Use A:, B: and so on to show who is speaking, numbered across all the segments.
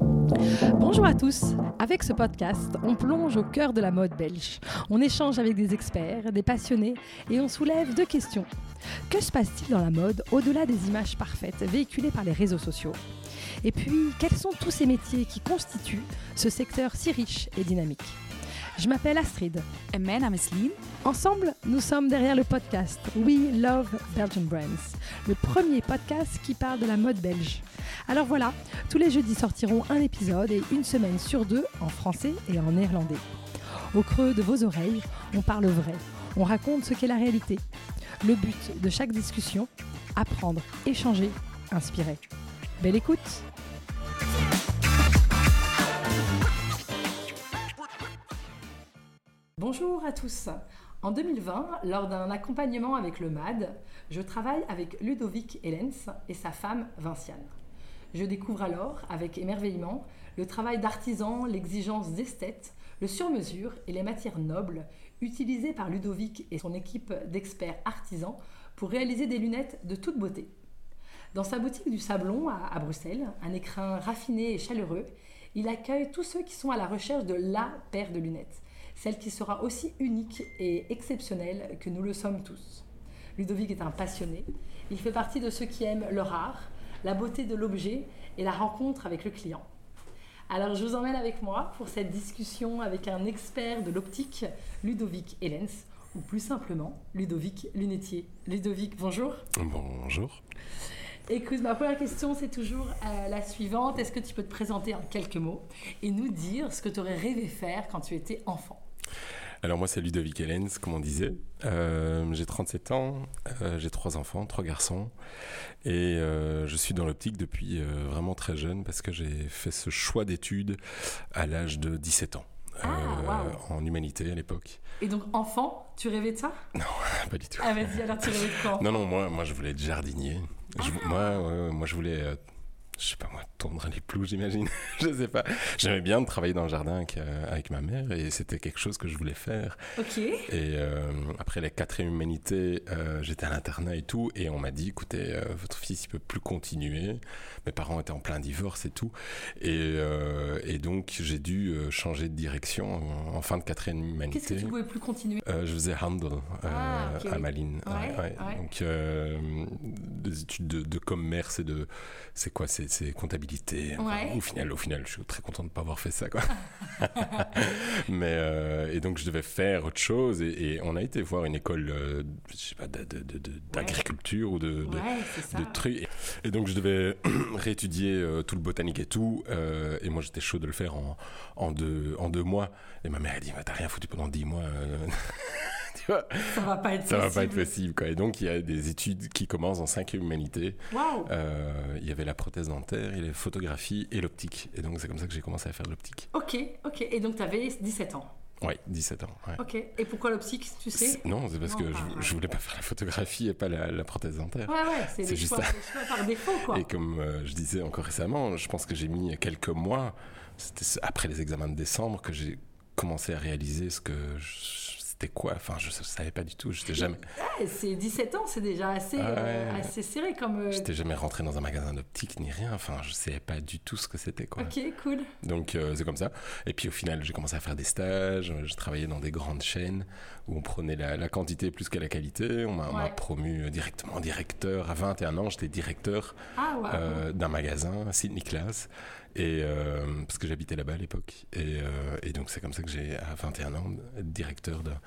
A: Bonjour à tous. Avec ce podcast, on plonge au cœur de la mode belge. On échange avec des experts, des passionnés et on soulève deux questions. Que se passe-t-il dans la mode au-delà des images parfaites véhiculées par les réseaux sociaux Et puis, quels sont tous ces métiers qui constituent ce secteur si riche et dynamique Je m'appelle Astrid.
B: En mijn naam is Lien.
A: Ensemble, nous sommes derrière le podcast We Love Belgian Brands, le premier podcast qui parle de la mode belge. Alors voilà, tous les jeudis sortiront un épisode et une semaine sur deux en français et en néerlandais. Au creux de vos oreilles, on parle vrai, on raconte ce qu'est la réalité. Le but de chaque discussion, apprendre, échanger, inspirer. Belle écoute Bonjour à tous en 2020, lors d'un accompagnement avec le MAD, je travaille avec Ludovic Helens et sa femme Vinciane. Je découvre alors, avec émerveillement, le travail d'artisan, l'exigence d'esthète, le sur-mesure et les matières nobles utilisées par Ludovic et son équipe d'experts artisans pour réaliser des lunettes de toute beauté. Dans sa boutique du Sablon à, à Bruxelles, un écrin raffiné et chaleureux, il accueille tous ceux qui sont à la recherche de la paire de lunettes, celle qui sera aussi unique et exceptionnelle que nous le sommes tous. Ludovic est un passionné, il fait partie de ceux qui aiment leur art, la beauté de l'objet et la rencontre avec le client. Alors je vous emmène avec moi pour cette discussion avec un expert de l'optique, Ludovic Helens, ou plus simplement Ludovic Lunetier. Ludovic, bonjour.
C: Bonjour.
A: Écoute, ma première question, c'est toujours euh, la suivante. Est-ce que tu peux te présenter en quelques mots et nous dire ce que tu aurais rêvé faire quand tu étais enfant
C: Alors moi, c'est Ludovic Helens, comme on disait. Euh, j'ai 37 ans, euh, j'ai trois enfants, trois garçons. Et euh, je suis dans l'optique depuis euh, vraiment très jeune parce que j'ai fait ce choix d'études à l'âge de 17 ans.
A: Ah,
C: euh,
A: waouh.
C: En humanité à l'époque.
A: Et donc, enfant, tu rêvais de ça
C: Pas du tout.
A: Ah, vas-y, alors tu rêvais de quoi
C: Non, non, moi, moi je voulais être jardinier. Je,
A: Ah.
C: moi, ouais, ouais, moi, je voulais, euh, je sais pas moi, tondre les clous, j'imagine. je sais pas. J'aimais bien de travailler dans le jardin avec, euh, avec ma mère et c'était quelque chose que je voulais faire.
A: Ok.
C: Et euh, après la quatrième humanité, euh, j'étais à l'internat et tout, et on m'a dit, écoutez, euh, votre fils, il peut plus continuer. Mes parents étaient en plein divorce et tout. Et, euh, et donc, j'ai dû euh, changer de direction en, en fin de quatrième
A: Qu'est-ce que
C: humanité.
A: tu pouvais plus continuer
C: Euh, je faisais handel euh,
A: Ah, ok.
C: à Malines.
A: Ouais, ouais.
C: Donc, euh, des études de, de commerce et de. C'est quoi C'est c'est comptabilité. Enfin,
A: Ouais.
C: Au, final, au final, je suis très content de ne pas avoir fait ça. Quoi. Mais, euh, et donc, je devais faire autre chose. Et, et on a été voir une école euh, je sais pas, de- de- de- de- d'agriculture ou de- de,
A: Ouais, c'est ça.
C: de trucs. Et donc je devais réétudier euh, tout le botanique et tout. euh, et moi j'étais chaud de le faire en, en, deux, en deux mois. Et ma mère a dit Bah, T'as rien foutu pendant dix mois. euh. tu vois,
A: Ça va pas être
C: ça va pas être
A: possible.
C: possible. Quoi. Et donc il y a des études qui commencent en cinq humanités.
A: Waouh
C: Euh, il y avait la prothèse dentaire, et les photographies et l'optique. Et donc c'est comme ça que j'ai commencé à faire de l'optique.
A: Ok, ok. Et donc, tu avais 17 ans.
C: Ouais, 17 ans. ouais.
A: Ok. Et pourquoi l'optique, tu sais
C: C'est- Non, c'est parce
A: Non,
C: que
A: ah,
C: je,
A: ouais.
C: je voulais pas faire la photographie et pas la, la prothèse dentaire.
A: Ouais, ouais, c'est
C: C'est
A: des
C: juste
A: choix,
C: ça.
A: des choix par défaut, quoi.
C: Et comme euh, je disais encore récemment, je pense que j'ai mis quelques mois, c'était ce- après les examens de décembre, que j'ai commencé à réaliser ce que je- c'était quoi. Enfin, je ne savais pas du tout. J'étais jamais,
A: Ouais, Ah, c'est 17 ans, c'est déjà assez,
C: Ah, Ouais.
A: euh, assez serré comme. euh,
C: j'étais jamais rentré dans un magasin d'optique ni rien. Enfin, je savais pas du tout ce que c'était quoi.
A: Ok, cool.
C: Donc euh, c'est comme ça. Et puis au final, j'ai commencé à faire des stages. Euh, Je travaillais dans des grandes chaînes où on prenait la, la quantité plus que la qualité. On m'a on m'a
A: Ouais.
C: promu euh, directement directeur. À 21 ans, j'étais directeur
A: Ah, waouh.
C: euh, d'un magasin, Sydney Class, et, euh, parce que j'habitais là-bas à l'époque. Et, euh, et donc c'est comme ça que j'ai, à 21 ans, être directeur d'un...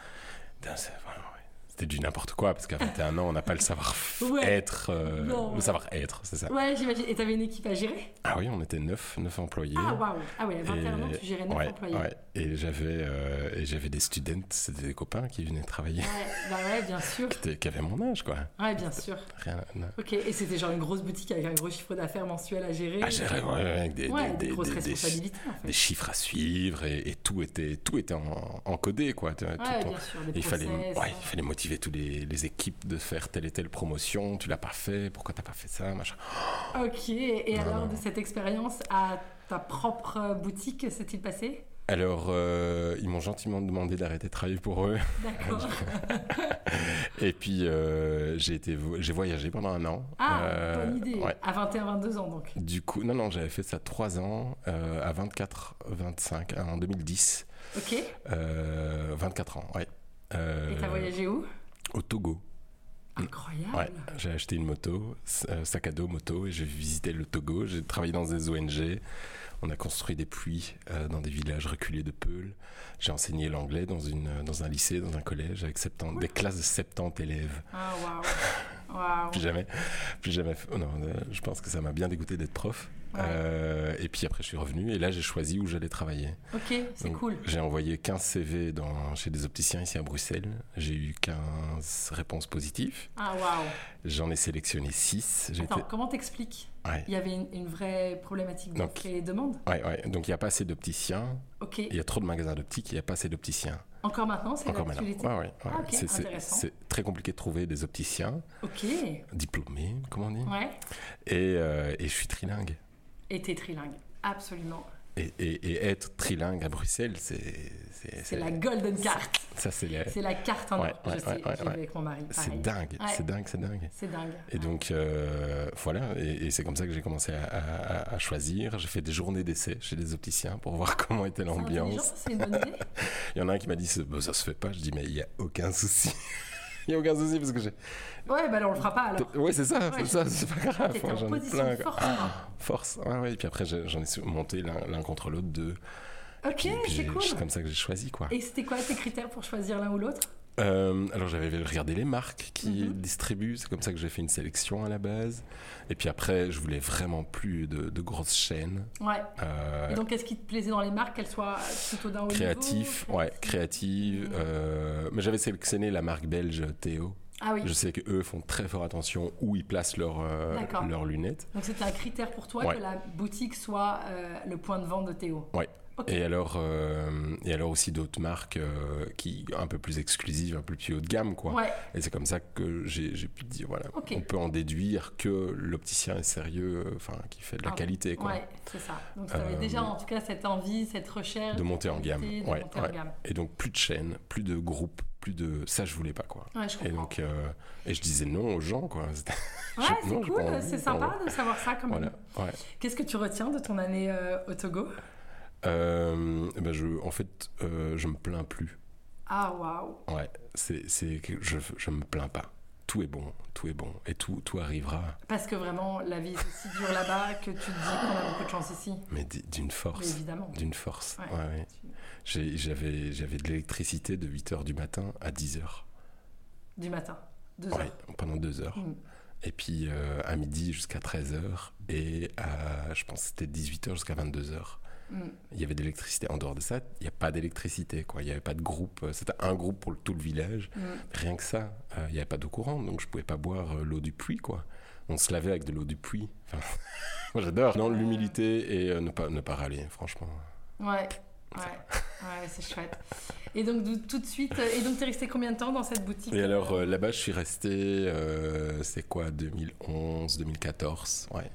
C: d'un- c'est- enfin, ouais, C'était du n'importe quoi, parce qu'à 21 ans, on n'a pas le
A: Ouais.
C: savoir-être. euh,
A: Non, ouais.
C: le savoir-être, c'est ça.
A: Ouais, j'imagine. Et t'avais une équipe à gérer
C: Ah oui, on était 9, 9 employés.
A: Ah, waouh. Ah, ouais, à 21
C: Et-
A: ans, tu gérais 9
C: ouais,
A: employés.
C: ouais. Et j'avais euh, et j'avais des students, c'était des copains qui venaient travailler,
A: Ouais, bah ouais, bien sûr.
C: qui, étaient- qui avaient mon âge, quoi.
A: Ouais, bien sûr.
C: Rien à-
A: Ok, et c'était genre une grosse boutique avec un gros chiffre d'affaires mensuel à gérer.
C: à gérer, Ah, ouais, ouais, avec des,
A: Ouais,
C: des-
A: des,
C: des-
A: grosses
C: des- des-
A: responsabilités en fait.
C: des chiffres à suivre et, et tout était tout était en- encodé quoi tu vois, tout
A: ouais,
C: en-
A: bien sûr, des
C: il
A: process.
C: fallait ouais, il fallait motiver tous les, les équipes de faire telle et telle promotion tu l'as pas fait pourquoi t'as pas fait ça machin
A: euh, Ok, et
C: Non,
A: alors
C: non.
A: de cette expérience à ta propre boutique, s'est-il passé
C: Alors, euh, ils m'ont gentiment demandé d'arrêter de travailler pour eux.
A: D'accord.
C: Euh, Et puis, euh, j'ai été vo- j'ai voyagé pendant un an.
A: Ah,
C: Euh,
A: bonne idée.
C: ouais.
A: À 21-22 ans, donc.
C: Du coup, non, non, j'avais fait ça trois ans euh, à 24, 25, hein, en 2010.
A: Ok. Et
C: Euh, 24 ans, ouais. Euh,
A: t'as voyagé où
C: Au Togo.
A: Incroyable.
C: Ouais, j'ai acheté une moto, s- euh, sac à dos, moto, et j'ai visité le Togo. J'ai travaillé dans des ONG. On a construit des puits euh, dans des villages reculés de Peul. J'ai enseigné l'anglais dans, une, euh, dans un lycée, dans un collège, avec 70 des classes de 70 élèves.
A: Ah, waouh. Waouh.
C: Plus jamais, plus jamais. f- oh non, euh, je pense que ça m'a bien dégoûté d'être prof.
A: Ouais.
C: Euh, et puis après, je suis revenu et là, j'ai choisi où j'allais travailler.
A: Ok, c'est
C: Donc,
A: cool.
C: J'ai envoyé 15 CV dans, chez des opticiens ici à Bruxelles. J'ai eu 15 réponses positives.
A: Ah, waouh.
C: J'en ai sélectionné 6. J'ai
A: Attends,
C: été...
A: comment t'expliques
C: ouais.
A: Il y avait une, une vraie problématique
C: Donc-
A: d'offre et demande
C: Ouais, ouais. Donc il n'y a pas assez d'opticiens.
A: Ok.
C: Il y a trop de magasins d'optique, il n'y a pas assez d'opticiens.
A: Encore maintenant, c'est
C: Encore maintenant.
A: l'actualité
C: Ouais, ouais, ouais.
A: Ah, ok,
C: C'est- c'est-
A: intéressant.
C: C'est très compliqué de trouver des opticiens
A: Ok.
C: diplômés, comment on dit.
A: Ouais.
C: Et, euh, et je suis trilingue.
A: Et t'es trilingue. Absolument.
C: Et, et- et être trilingue à Bruxelles, c'est.
A: C'est la golden carte.
C: Ça, c'est la-
A: C'est la carte en or.
C: Ouais, ouais,
A: je sais,
C: ouais, ouais,
A: j'ai
C: ouais.
A: vu avec mon mari.
C: C'est
A: pareil.
C: dingue,
A: Ouais.
C: c'est dingue, c'est dingue.
A: C'est dingue.
C: Et donc, euh, voilà, et, et c'est comme ça que j'ai commencé à, à- à choisir. J'ai fait des journées d'essai chez des opticiens pour voir comment était
A: C'est intelligent,
C: l'ambiance.
A: C'est une bonne idée.
C: Il y en a un qui m'a dit ça, ça se fait pas. Je dis, mais il n'y a aucun souci. Il n'y a aucun souci parce que j'ai.
A: Ouais, bah là, on le fera pas alors.
C: Ouais, c'est ça,
A: Ouais.
C: c'est ça, c'est pas grave.
A: T'étais en
C: Moi, Ah, J'en ai
A: position
C: plein.
A: de
C: quoi. Ah,
A: force. hein.
C: Force. Ouais, ouais. Et puis après, j'ai- j'en ai sou- monté l'un l'un contre l'autre, deux.
A: Ok,
C: Et puis
A: c'est
C: j'ai-
A: cool.
C: C'est comme ça que j'ai choisi, quoi.
A: Et c'était quoi tes critères pour choisir l'un ou l'autre
C: Euh, alors j'avais regardé les marques qui
A: Mhm.
C: distribuent, c'est comme ça que j'ai fait une sélection à la base. Et puis après, je voulais vraiment plus de, de grosses chaînes.
A: Ouais.
C: Euh,
A: Et donc, est-ce qu'il te plaisait dans les marques qu'elles soient plutôt d'un haut
C: créatif,
A: niveau
C: ouais, créative.
A: Mhm.
C: euh, mais j'avais sélectionné la marque belge Théo.
A: Ah oui.
C: Je sais que eux font très fort attention où ils placent leurs euh,
A: D'accord.
C: leurs lunettes.
A: Donc, c'était un critère pour toi
C: Ouais.
A: que la boutique soit euh, le point de vente de Théo.
C: Ouais.
A: Ok.
C: Et alors, euh, et alors aussi d'autres marques euh, qui un peu plus exclusives, un peu plus haut de gamme, quoi.
A: Ouais.
C: Et c'est comme ça que j'ai j'ai pu dire, voilà,
A: Ok.
C: on peut en déduire que l'opticien est sérieux, euh, enfin, qui fait de la
A: Ah,
C: qualité, quoi.
A: Ouais, c'est ça. Donc, tu avais
C: Euh,
A: déjà en tout cas cette envie, cette recherche.
C: De monter en
A: cette
C: gamme.
A: qualité, de
C: Ouais,
A: monter en
C: ouais.
A: gamme.
C: Et donc, plus de chaînes, plus de groupes, plus de... Ça, je voulais pas, quoi.
A: Ouais, je
C: Et
A: comprends.
C: donc, euh, et je disais non aux gens, quoi. C'était-
A: ouais,
C: je-
A: c'est
C: non, j'ai pas
A: cool,
C: envie,
A: c'est
C: j'ai pas
A: sympa de savoir ça quand même.
C: Voilà, ouais.
A: Qu'est-ce que tu retiens de ton année euh, au Togo
C: Euh, ben, je, en fait, euh, je me plains plus.
A: Ah, waouh.
C: Ouais, c'est, c'est que je, je me plains pas. Tout est bon, tout est bon, et tout, tout arrivera,
A: Parce que vraiment, la vie est aussi dure là-bas que tu te dis qu'on a beaucoup de chance ici.
C: mais d- d'une
A: Mais
C: force.
A: évidemment.
C: D'une force.
A: Ouais.
C: Ouais, ouais.
A: Tu-
C: J'ai- J'avais j'avais de l'électricité de 8h du matin à 10h.
A: Du matin. Deux
C: Ouais,
A: heures.
C: pendant 2 heures.
A: Mm.
C: Et puis euh, à midi jusqu'à 13h. Et à, je pense que c'était 18h jusqu'à 22h.
A: Mm.
C: Il y avait de l'électricité. En dehors de ça, il n'y a pas d'électricité. quoi. Il n'y avait pas de groupe. C'était un groupe pour le- tout le village.
A: Mm.
C: Rien que ça, euh, il n'y avait pas d'eau courante. Donc je pouvais pas boire euh, l'eau du puits. quoi. On se lavait avec de l'eau du puits. Enfin, moi, j'adore. Non, l'humilité et euh, ne, pas, ne pas râler, franchement.
A: Ouais. Ouais, ouais c'est chouette. Et donc, d'où- tout de suite, euh, et donc, t'es resté combien de temps dans cette boutique
C: Et alors euh, là-bas, je suis resté, euh, c'est quoi, 2011, 2014, ouais,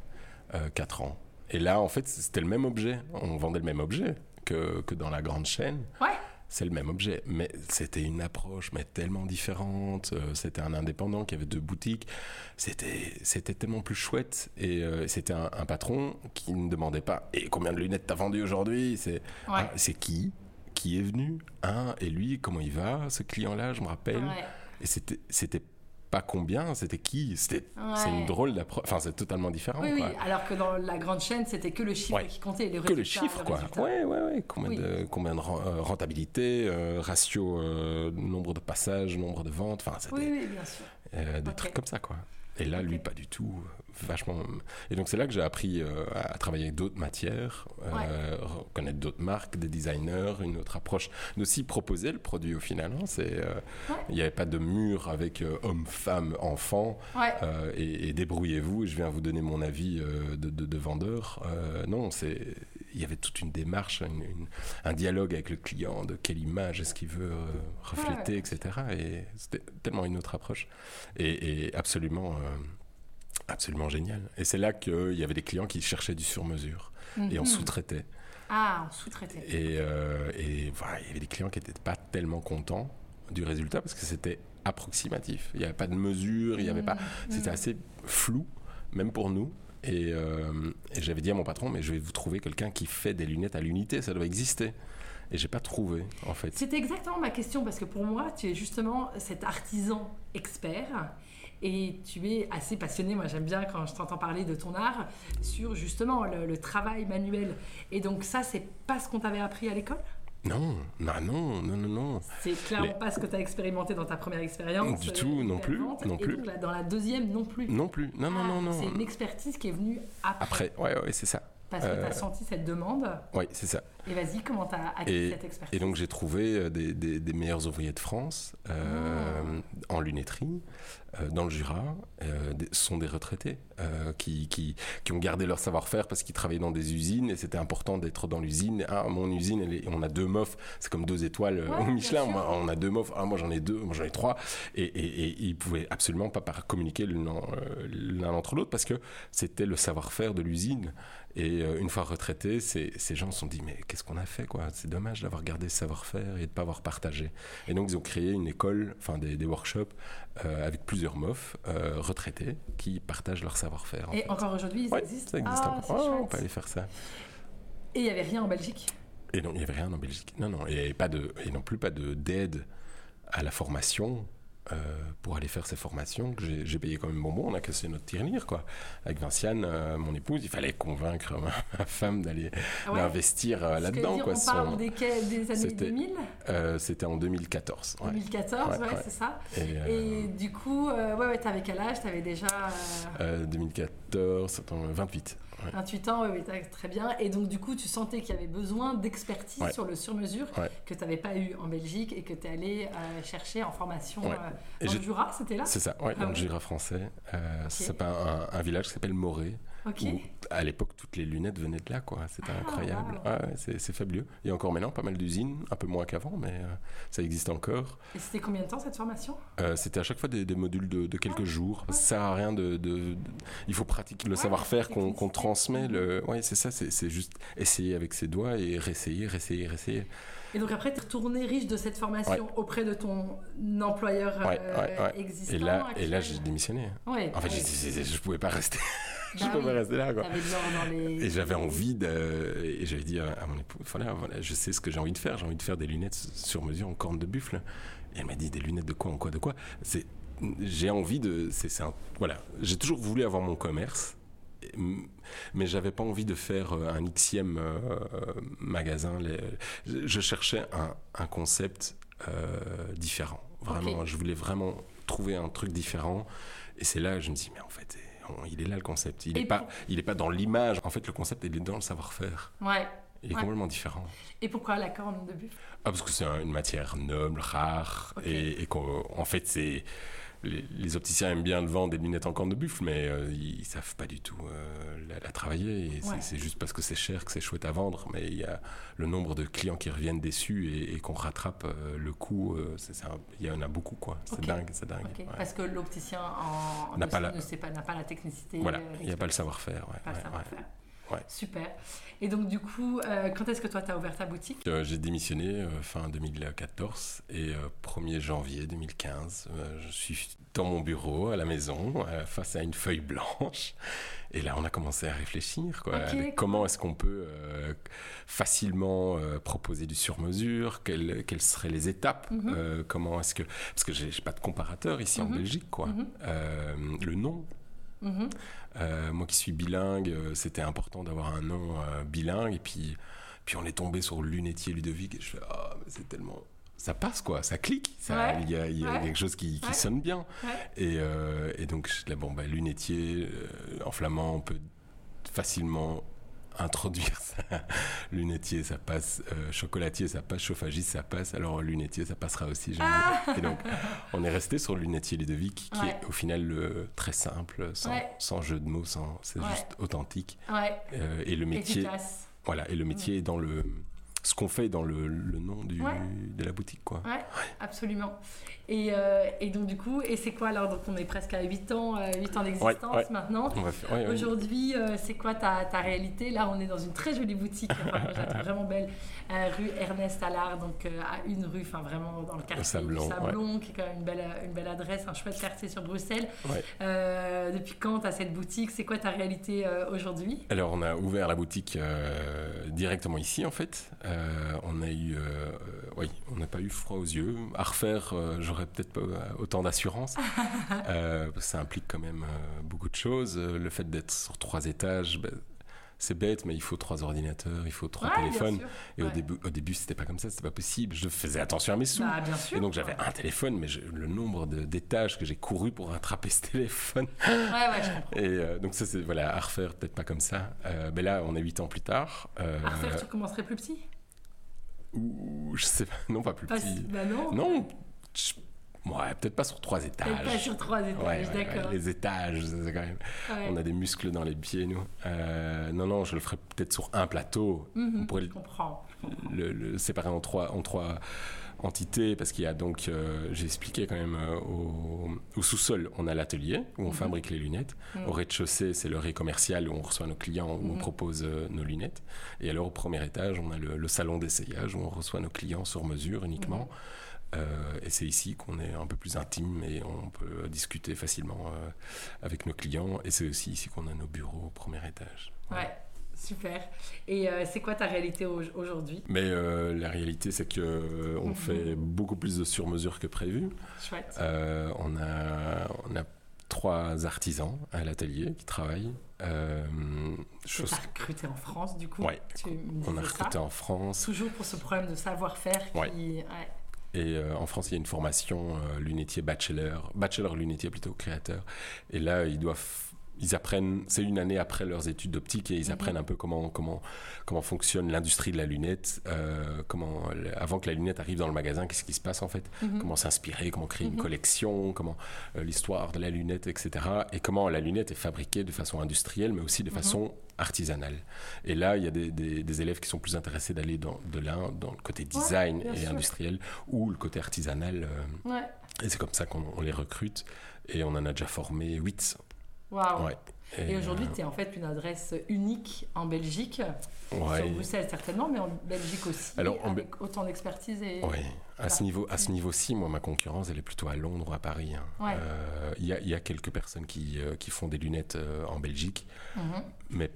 C: 4 Euh, ans. Et là, en fait, c'était le même objet. On vendait le même objet que, que dans la grande chaîne.
A: Ouais.
C: C'est le même objet, mais c'était une approche mais tellement différente. Euh, c'était un indépendant qui avait deux boutiques. C'était c'était tellement plus chouette et euh, c'était un, un patron qui ne demandait pas et combien de lunettes t'as vendu aujourd'hui. C'est
A: Ouais.
C: ah, c'est qui qui est venu hein et lui comment il va ce client là je me rappelle
A: Ouais.
C: et c'était, c'était pas combien, c'était qui C'était, C'est
A: Ouais.
C: une drôle d'approche. Enfin, c'est totalement différent.
A: Oui, oui,
C: quoi.
A: alors que dans la grande chaîne, c'était que le chiffre
C: Ouais.
A: qui comptait, le
C: Que le
A: résultat,
C: chiffre, quoi.
A: résultat.
C: Ouais, ouais, ouais. Combien,
A: Oui.
C: de, combien de ren- euh, rentabilité, euh, ratio, euh, nombre de passages, nombre de ventes. Enfin, c'était
A: Oui, oui, bien sûr.
C: euh, des
A: Ok.
C: trucs comme ça, quoi. Et là, lui,
A: Ok.
C: pas du tout. Vachement. Et donc, c'est là que j'ai appris euh, à à travailler avec d'autres matières, euh, connaître d'autres marques, des designers, une autre approche. Mais aussi proposer le produit au final. hein. C'est, euh,
A: Ouais.
C: Il n'y avait pas de mur avec euh, homme, femme, enfant.
A: Ouais.
C: Euh, et, et débrouillez-vous, et je viens vous donner mon avis euh, de, de- de vendeur. Euh, non, c'est il y avait toute une démarche, une- une- un dialogue avec le client, de quelle image est-ce qu'il veut euh, refléter, etc. Et c'était tellement une autre approche et, et absolument, euh, absolument génial. Et c'est là qu'il y avait des clients qui cherchaient du sur-mesure et on
A: Mhm.
C: sous-traitait.
A: Ah, on sous-traitait.
C: Et, euh, et voilà, il y avait des clients qui n'étaient pas tellement contents du résultat parce que c'était approximatif. Il n'y avait pas de mesure, il y avait
A: Mmh,
C: pas. C'était assez flou, même pour nous. Et, euh, et j'avais dit à mon patron, mais je vais vous trouver quelqu'un qui fait des lunettes à l'unité, ça doit exister. Et j'ai pas trouvé, en fait.
A: C'était exactement ma question parce que pour moi, tu es justement cet artisan expert et tu es assez passionné. Moi, j'aime bien quand je t'entends parler de ton art sur justement le, le travail manuel. Et donc, ça, c'est pas ce qu'on t'avait appris à l'école
C: Non, non, non, non, non, non.
A: C'est clairement
C: Mais-
A: pas ce que tu as expérimenté dans ta première expérience.
C: Du
A: euh,
C: tout, non plus,
A: expérimente,
C: non
A: et
C: plus.
A: donc, là, dans la deuxième, non plus.
C: Non plus. Non, non,
A: Ah,
C: non,
A: C'est
C: non.
A: une expertise qui est venue après.
C: Après, ouais, ouais, c'est ça.
A: Parce que tu
C: euh,
A: as senti cette demande.
C: Ouais, c'est ça.
A: Et vas-y, comment tu as acquis
C: Et-
A: cette expertise
C: Et donc j'ai trouvé euh, des, des- des meilleurs ouvriers de France euh,
A: Ah.
C: en lunetterie, euh, dans le Jura. euh, des- ce sont des retraités euh, qui, qui, qui ont gardé leur savoir-faire parce qu'ils travaillaient dans des usines et c'était important d'être dans l'usine. Ah, mon usine, elle est- on a deux meufs, c'est comme deux étoiles euh,
A: Ouais,
C: au
A: bien
C: Michelin.
A: sûr.
C: Moi, on a deux meufs, ah, moi j'en ai deux, moi j'en ai trois. Et, et, et ils pouvaient absolument pas par- communiquer l'un en- euh, l'un entre l'autre parce que c'était le savoir-faire de l'usine. Et euh, une fois retraités, ces, ces gens se sont dit mais qu'est-ce qu'on a fait quoi C'est dommage d'avoir gardé ce savoir-faire et de ne pas avoir partagé. Et donc ils ont créé une école, enfin des, des workshops euh, avec plusieurs meufs euh, retraités qui partagent leur savoir-faire. en
A: Et
C: fait.
A: encore aujourd'hui, ça
C: Ouais,
A: existe.
C: ça existe
A: Ah, c'est
C: encore. Oh, Ouais, on
A: chouette.
C: peut aller faire ça.
A: Et il n'y avait rien en Belgique.
C: Et non, il n'y avait rien en Belgique. Non, non, et pas de, et non plus pas de d'aide à la formation euh, pour aller faire ces formations. que J'ai j'ai payé quand même bonbon, on a cassé notre tirelire, quoi. Avec Vinciane, euh, mon épouse, il fallait convaincre ma, ma femme d'aller
A: Ah ouais
C: d'investir euh,
A: Parce que
C: là-dedans,
A: dire,
C: quoi.
A: On
C: Son-
A: parle des, quais- des années
C: C'était-
A: 2000,
C: euh, C'était en 2014. ouais.
A: 2014, ouais,
C: Ouais, ouais.
A: c'est ça.
C: Et, euh,
A: Et du coup, euh, ouais, ouais, t'avais quel âge T'avais déjà euh,
C: euh, 2014, attends, 28. ouais.
A: 28 ans, ouais, ouais, t'as- très bien. Et donc, du coup, tu sentais qu'il y avait besoin d'expertise
C: Ouais.
A: sur le sur-mesure
C: Ouais.
A: que t'avais pas eu en Belgique et que t'es allé euh, chercher en formation
C: Ouais.
A: euh,
C: Et
A: dans
C: je-
A: le Jura, c'était là
C: C'est ça, ouais,
A: Ah
C: dans le
A: ouais.
C: Jura français. Euh, C'est pas un, un village qui s'appelle Morée.
A: Ok.
C: où, à l'époque, toutes les lunettes venaient de là, quoi. C'était
A: Ah,
C: incroyable. Ouais, ouais, c'est, c'est fabuleux. Il y a encore maintenant pas mal d'usines, un peu moins qu'avant, mais euh, ça existe encore.
A: Et c'était combien de temps cette formation
C: Euh, c'était à chaque fois des, des modules de, de quelques jours. parce que Ça sert à rien de, de- de- Il faut pratiquer le
A: Ouais, Mm-hmm.
C: savoir-faire qu'on,
A: technicité.
C: qu'on transmet. Le... Ouais, c'est ça, c'est, c'est juste essayer avec ses doigts et réessayer, réessayer, réessayer.
A: Et donc, après, t'es retourné riche de cette formation auprès de ton employeur euh,
C: Ouais, ouais, ouais.
A: existant.
C: Et là, et
A: actuel.
C: là j'ai démissionné.
A: Ouais,
C: En fait,
A: ouais.
C: j'ai- j'ai- j'ai- je pouvais pas rester. je
A: Bah
C: pouvais pas
A: oui.
C: rester là, quoi.
A: T'avais de l'or dans les.
C: Et j'avais envie de. Et j'avais dit à à mon épouse, voilà, voilà, je sais ce que j'ai envie de faire. J'ai envie de faire des lunettes sur mesure en corne de buffle. Et elle m'a dit, des lunettes de quoi, en quoi, de quoi C'est. J'ai envie de. C'est c'est un. Voilà. J'ai toujours voulu avoir mon commerce. et- Mais j'avais pas envie de faire euh, un xème euh, magasin. les- je- Je cherchais un, un concept euh, différent. Vraiment,
A: Ok.
C: je voulais vraiment trouver un truc différent. Et c'est là que je me dis, mais en fait, on- il est là le concept. Il
A: Et
C: n'est pas,
A: pour-
C: il est pas dans l'image. En fait, le concept, il est dans le savoir-faire.
A: Ouais.
C: Il est
A: Ouais.
C: complètement différent.
A: Et pourquoi la corne de buffle
C: Ah, parce que c'est un- une matière noble, rare,
A: Ok.
C: et, et qu'en en fait, c'est. Les, les opticiens aiment bien le vendre des lunettes en corne de buffle, mais euh, ils, ils savent pas du tout euh, la, la travailler. Et c'est-
A: Ouais.
C: C'est juste parce que c'est cher que c'est chouette à vendre, mais il y a le nombre de clients qui reviennent déçus et, et qu'on rattrape euh, le coût. euh, c'est- c'est un- Il y en a beaucoup, quoi. C'est
A: Ok.
C: dingue, c'est dingue.
A: Ok.
C: ouais.
A: Parce que l'opticien en, en
C: N'a pas
A: optique
C: la-
A: ne sait pas, n'a pas la technicité.
C: Voilà,
A: euh,
C: il n'y a pas le savoir-faire. ouais,
A: pas le
C: ouais, ouais.
A: savoir-faire.
C: Ouais.
A: Super. Et donc du coup, euh, quand est-ce que toi t'as ouvert ta boutique
C: Euh, J'ai démissionné euh, fin 2014 et euh, 1er janvier 2015, euh, je suis dans mon bureau à la maison euh, face à une feuille blanche et là on a commencé à réfléchir quoi,
A: Ok,
C: avec
A: cool.
C: comment est-ce qu'on peut euh, facilement euh, proposer du sur-mesure, quelles, quelles seraient les étapes,
A: Mhm.
C: euh, comment est-ce que parce que j'ai j'ai pas de comparateur ici en
A: Mhm.
C: Belgique quoi,
A: Mhm.
C: Euh, le nom
A: Mhm.
C: euh, moi qui suis bilingue, euh, c'était important d'avoir un nom euh, bilingue. Et puis, puis on est tombé sur Lunetier Ludovic. Et je fais, ah, mais c'est tellement. Ça passe quoi, ça clique. ça-
A: Ouais,
C: Il y a, il y a
A: ouais,
C: quelque chose qui, qui
A: ouais.
C: sonne bien.
A: Ouais.
C: Et, euh, et donc, je dis, bon, bah, Lunetier, euh, en flamand, on peut facilement introduire ça. Lunetier, ça passe. euh, chocolatier, ça passe. Chauffagiste, ça passe. Alors, Lunetier, ça passera aussi. j'aime bien. Et donc, on est resté sur Lunetier Ludovic, qui
A: Ah. Ouais.
C: est au final euh, très simple, sans,
A: Ouais.
C: sans jeu de mots, sans, c'est
A: Ouais.
C: juste authentique.
A: Ouais.
C: Euh, et le métier,
A: Efficace.
C: voilà, et le métier est dans le ce qu'on fait dans le, le nom du,
A: Ouais.
C: de la boutique, quoi.
A: Ouais, absolument. Et, euh, et donc, du coup, et c'est quoi alors Donc, on est presque à 8 ans, euh, 8 ans d'existence
C: ouais.
A: maintenant.
C: On va faire- ouais, ouais.
A: Aujourd'hui, euh, c'est quoi ta, ta réalité Là, on est dans une très jolie boutique, enfin, moi, je la trouve vraiment belle, euh, rue Ernest Allard, donc euh, à une rue, enfin vraiment dans le quartier
C: Sablon,
A: du Sablon, qui est quand même une belle, euh, une belle adresse, un chouette quartier sur Bruxelles.
C: Ouais.
A: Euh, depuis quand tu as cette boutique C'est quoi ta réalité euh, aujourd'hui
C: Alors, on a ouvert la boutique euh, directement ici, en fait. Euh, on a eu, euh, oui, on n'a pas eu froid aux yeux. À refaire, euh, j'aurais peut-être pas autant d'assurance. Euh, parce que ça implique quand même euh, beaucoup de choses. Euh, Le fait d'être sur trois étages, ben, c'est bête, mais il faut trois ordinateurs, il faut trois
A: Ouais,
C: téléphones.
A: Bien sûr.
C: Et au
A: ouais.
C: début, au début, c'était pas comme ça, c'était pas possible. Je faisais attention à mes sous.
A: Bah, bien sûr.
C: Et donc j'avais un téléphone, mais je- le nombre de- d'étages que j'ai couru pour rattraper ce téléphone.
A: Ouais, ouais, je comprends.
C: Et euh, donc ça, c'est voilà, à refaire, peut-être pas comme ça. Euh, mais là, on est 8 ans plus tard. Euh,
A: À refaire, tu commencerais plus petit
C: ou je sais pas, non, pas plus
A: Pas si-
C: petit.
A: Bah non.
C: Non, je- ouais, peut-être pas sur trois
A: Peut-être pas
C: étages.
A: sur trois
C: Ouais,
A: étages,
C: ouais, ouais,
A: d'accord.
C: les étages, ça, c'est quand même.
A: Ouais.
C: On a des muscles dans les pieds, nous. Euh, non, non, je le ferai peut-être sur un plateau.
A: Mhm,
C: on pourrait le-
A: Je comprends.
C: le, le séparer en trois, en trois entités parce qu'il y a donc, euh, j'ai expliqué quand même, euh, au, au sous-sol, on a l'atelier où on
A: Mhm.
C: fabrique les lunettes.
A: Mhm.
C: Au rez-de-chaussée, c'est le rez commercial où on reçoit nos clients, où on
A: Mhm.
C: propose euh, nos lunettes. Et alors au premier étage, on a le, le salon d'essayage où on reçoit nos clients sur mesure uniquement.
A: Mhm.
C: Euh, et c'est ici qu'on est un peu plus intime et on peut discuter facilement euh, avec nos clients. Et c'est aussi ici qu'on a nos bureaux au premier étage.
A: Ouais, super. Et euh, c'est quoi ta réalité au- aujourd'hui
C: Mais euh, la réalité, c'est que euh, on
A: Mhm.
C: fait beaucoup plus de sur-mesure que prévu.
A: Chouette.
C: Euh, on a on a trois artisans à l'atelier qui travaillent. Euh,
A: Tu
C: chose-
A: as recruté en France, du coup.
C: Ouais.
A: Tu me
C: on a
A: disais ça.
C: recruté en France
A: Toujours pour ce problème de savoir-faire qui.
C: Ouais.
A: ouais.
C: et euh, en France il y a une formation euh, lunetier bachelor, bachelor lunetier plutôt créateur. Et là ils doivent ils apprennent, c'est une année après leurs études d'optique et ils
A: Mhm.
C: apprennent un peu comment, comment, comment fonctionne l'industrie de la lunette, euh, comment, avant que la lunette arrive dans le magasin, qu'est-ce qui se passe en fait
A: Mhm.
C: comment s'inspirer, comment créer une
A: Mhm.
C: collection, comment euh, l'histoire de la lunette, etc. Et comment la lunette est fabriquée de façon industrielle, mais aussi de
A: Mhm.
C: façon artisanale. Et là, il y a des, des- des élèves qui sont plus intéressés d'aller dans, de l'un dans le côté design
A: bien
C: et
A: sûr.
C: industriel ou le côté artisanal. euh,
A: Ouais.
C: et c'est comme ça qu'on on les recrute. Et on en a déjà formé 8.
A: Waouh.
C: Ouais.
A: Ah. Et aujourd'hui, tu es en fait une adresse unique en Belgique,
C: euh,
A: sur
C: ouais.
A: Bruxelles certainement, mais en Belgique aussi,
C: Alors, en
A: avec autant d'expertise et.
C: euh, Ouais. À ce niveau, à ce niveau-ci, moi, ma concurrence, elle est plutôt à Londres ou à Paris. hein.
A: Ouais.
C: Euh, Il y, a- il y a quelques personnes qui, euh, qui font des lunettes euh, en Belgique.
A: Mhm.
C: mais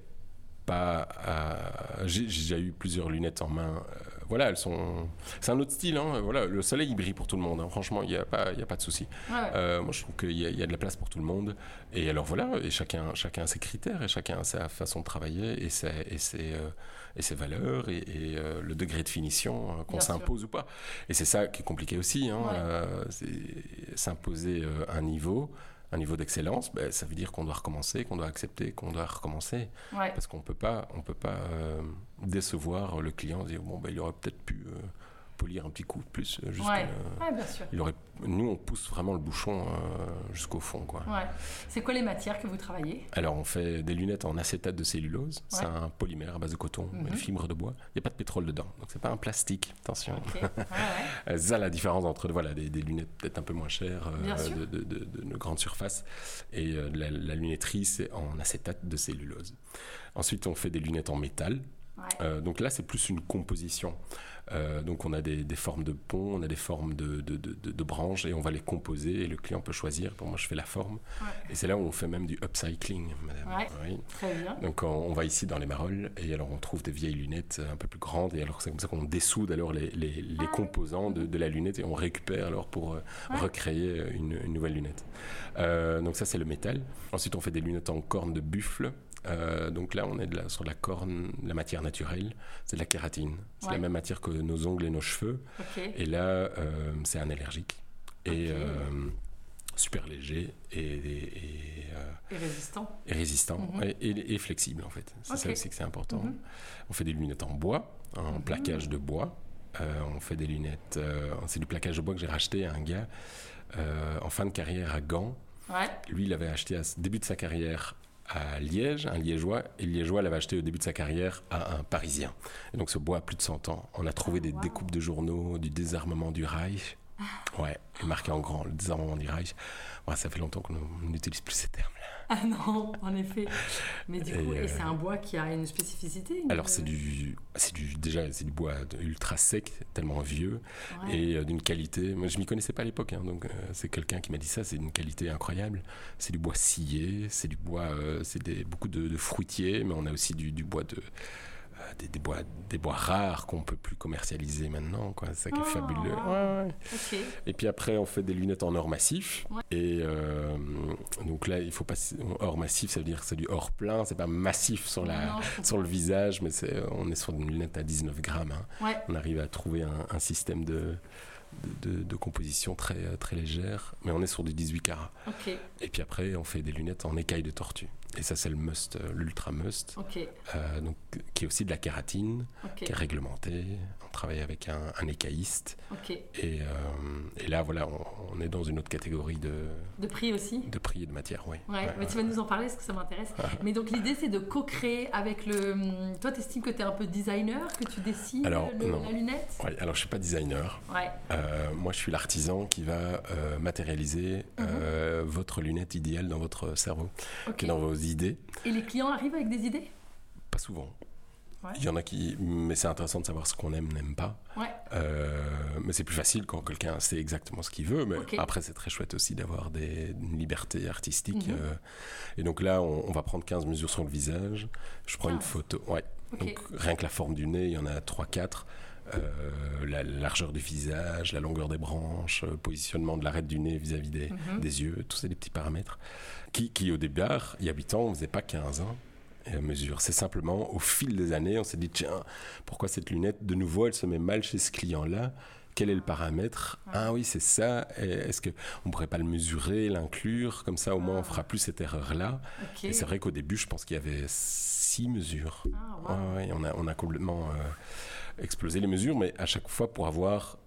C: pas à- j'ai j'ai déjà eu plusieurs lunettes en main euh, voilà elles sont c'est un autre style hein, voilà le soleil il brille pour tout le monde hein. franchement il n'y a pas il y a pas de souci
A: Ouais.
C: Euh, moi je trouve qu'il y, a- il y a de la place pour tout le monde et alors voilà et chacun chacun a ses critères et chacun a sa façon de travailler et ses et ses, euh, et ses valeurs et, et, euh, le degré de finition euh, qu'on
A: Bien sûr.
C: s'impose ou pas et c'est ça qui est compliqué aussi hein,
A: Ouais.
C: euh, c'est- s'imposer euh, un niveau un niveau d'excellence, ben, ça veut dire qu'on doit recommencer, qu'on doit accepter, qu'on doit recommencer.
A: ouais.
C: Parce qu'on peut pas, on peut pas euh, décevoir le client, dire bon ben il aurait peut-être pu euh, polir un petit coup de plus. euh, jusqu'à
A: Ouais.
C: le-
A: Ouais, bien sûr.
C: il aurait, nous on pousse vraiment le bouchon euh, jusqu'au fond quoi.
A: Ouais. C'est quoi les matières que vous travaillez
C: Alors on fait des lunettes en acétate de cellulose,
A: Ouais.
C: c'est un polymère à base de coton,
A: Mhm.
C: une fibre de bois. Il n'y a pas de pétrole dedans, donc c'est pas un plastique. Attention.
A: Ok. Ouais, ouais.
C: Euh, C'est ça la différence entre voilà, des, des lunettes peut-être un peu moins chères euh,
A: Bien sûr.
C: de, de, de, de nos grandes surfaces et euh, de la, la lunetterie c'est en acétate de cellulose. Ensuite on fait des lunettes en métal,
A: Ouais.
C: euh, donc là, c'est plus une composition. Euh, donc on a des, des formes de ponts, on a des formes de, de- de- de- de branches et on va les composer et le client peut choisir. Bon, moi, je fais la forme.
A: Ouais.
C: Et c'est là où on fait même du upcycling, madame.
A: Ouais.
C: Oui.
A: Très bien.
C: Donc on, on va ici dans les marolles et alors on trouve des vieilles lunettes euh, un peu plus grandes et alors c'est comme ça qu'on dessoude alors les, les- les
A: Ah.
C: composants de, de la lunette et on récupère alors pour euh,
A: Ouais.
C: recréer euh, une, une nouvelle lunette. Euh, donc ça c'est le métal. Ensuite on fait des lunettes en corne de buffle. Euh, donc là on est de la- sur de la corne, de la matière naturelle, c'est de la kératine. C'est
A: Ouais.
C: la même matière que nos ongles et nos cheveux.
A: Ok.
C: Et là, euh, c'est un allergique. Et
A: Ok.
C: euh, super léger et, et- et, euh,
A: Et résistant.
C: et résistant
A: Mhm.
C: et, et- et flexible en fait. C'est ça
A: Ok.
C: aussi que c'est important.
A: Mhm.
C: On fait des lunettes en bois, en
A: Mhm.
C: plaquage de bois. Euh, on fait des lunettes. euh, c'est du plaquage de bois que j'ai racheté à un gars euh, en fin de carrière à Gand.
A: Ouais.
C: Lui, il avait acheté à début de sa carrière à Liège, un Liégeois, et le Liégeois l'avait acheté au début de sa carrière à un Parisien. Et donc ce bois a plus de 100 ans. On a trouvé des
A: Wow.
C: découpes de journaux, du désarmement du Reich.
A: Ah.
C: Ouais, et marqué en grand, le désarmement du Reich. Ouais, ça fait longtemps qu'on n'utilise plus ces termes-là.
A: Ah non, en effet. Mais du coup,
C: Et, euh,
A: et c'est un bois qui a une spécificité. une-
C: Alors c'est du, c'est du, déjà c'est du bois de- ultra sec, tellement vieux,
A: Ouais.
C: et euh, d'une qualité. Moi, je m'y connaissais pas à l'époque, hein, donc euh, c'est quelqu'un qui m'a dit ça. C'est d'une qualité incroyable. C'est du bois scié, c'est du bois, euh, c'est des, beaucoup de, de fruitiers, mais on a aussi du, du bois de euh, des, des bois, des bois rares qu'on peut plus commercialiser maintenant. quoi. C'est ça qui est
A: Ah,
C: fabuleux.
A: wow.
C: Ouais, ouais.
A: Ok.
C: Et puis après, on fait des lunettes en or massif.
A: Ouais.
C: Et euh, donc là, il faut pas or massif, ça veut dire que c'est du or plein. C'est pas massif sur la
A: Non, je comprends.
C: sur le visage, mais c'est euh, on est sur une lunette à 19 grammes. hein.
A: Ouais.
C: On arrive à trouver un, un système de de, de- de composition très euh, très légère, mais on est sur du 18 carats.
A: Ok.
C: Et puis après, on fait des lunettes en écaille de tortue. Et ça, c'est le must, euh, l'ultra must,
A: Ok.
C: euh, donc qui est aussi de la kératine,
A: Ok.
C: qui est réglementée. On travaille avec un, un écailliste.
A: Ok.
C: Et, euh, et là, voilà, on, on est dans une autre catégorie de,
A: De prix aussi.
C: de prix et de matière, oui.
A: Ouais, mais tu vas nous en parler parce que ça m'intéresse. Mais donc l'idée c'est de co-créer avec le. hum, Toi, t'estimes que t'es un peu designer, que tu dessines
C: Alors,
A: le-
C: non.
A: la lunette.
C: Ouais, alors, je suis pas designer.
A: Ouais.
C: Euh, moi, je suis l'artisan qui va euh, matérialiser euh, votre lunette idéale dans votre cerveau,
A: Mhm. Ok.
C: qui est dans vos idées.
A: Et les clients arrivent avec des idées.
C: Pas souvent.
A: Ouais.
C: Il y en a qui, mais c'est intéressant de savoir ce qu'on aime, n'aime pas.
A: Ouais.
C: Euh, mais c'est plus facile quand quelqu'un sait exactement ce qu'il veut. Mais
A: Ok.
C: après, c'est très chouette aussi d'avoir des, une liberté artistique.
A: Mhm.
C: euh. et donc là, on, on va prendre 15 mesures sur le visage. Je prends une
A: 15.
C: photo. Ouais.
A: Ah. Ok.
C: Donc rien que la forme du nez, il y en a 3-4. Euh, la largeur du visage, la longueur des branches, euh, positionnement de l'arête du nez vis-à-vis des,
A: Mhm.
C: des yeux, tous ces petits paramètres qui, qui, au départ, il y a 8 ans, on faisait pas 15 ans et à mesure. C'est simplement au fil des années, on s'est dit tiens, pourquoi cette lunette de nouveau elle se met mal chez ce client-là quel est le paramètre Ah oui, c'est ça. Et Est-ce qu'on ne pourrait pas le mesurer, l'inclure Comme ça, au moins, on fera plus cette erreur-là.
A: Ah. Ok.
C: Et c'est vrai qu'au début, je pense qu'il y avait six mesures.
A: Ah,
C: Ouais,
A: wow.
C: ouais, on, a, on a complètement euh, explosé les mesures, mais à chaque fois pour avoir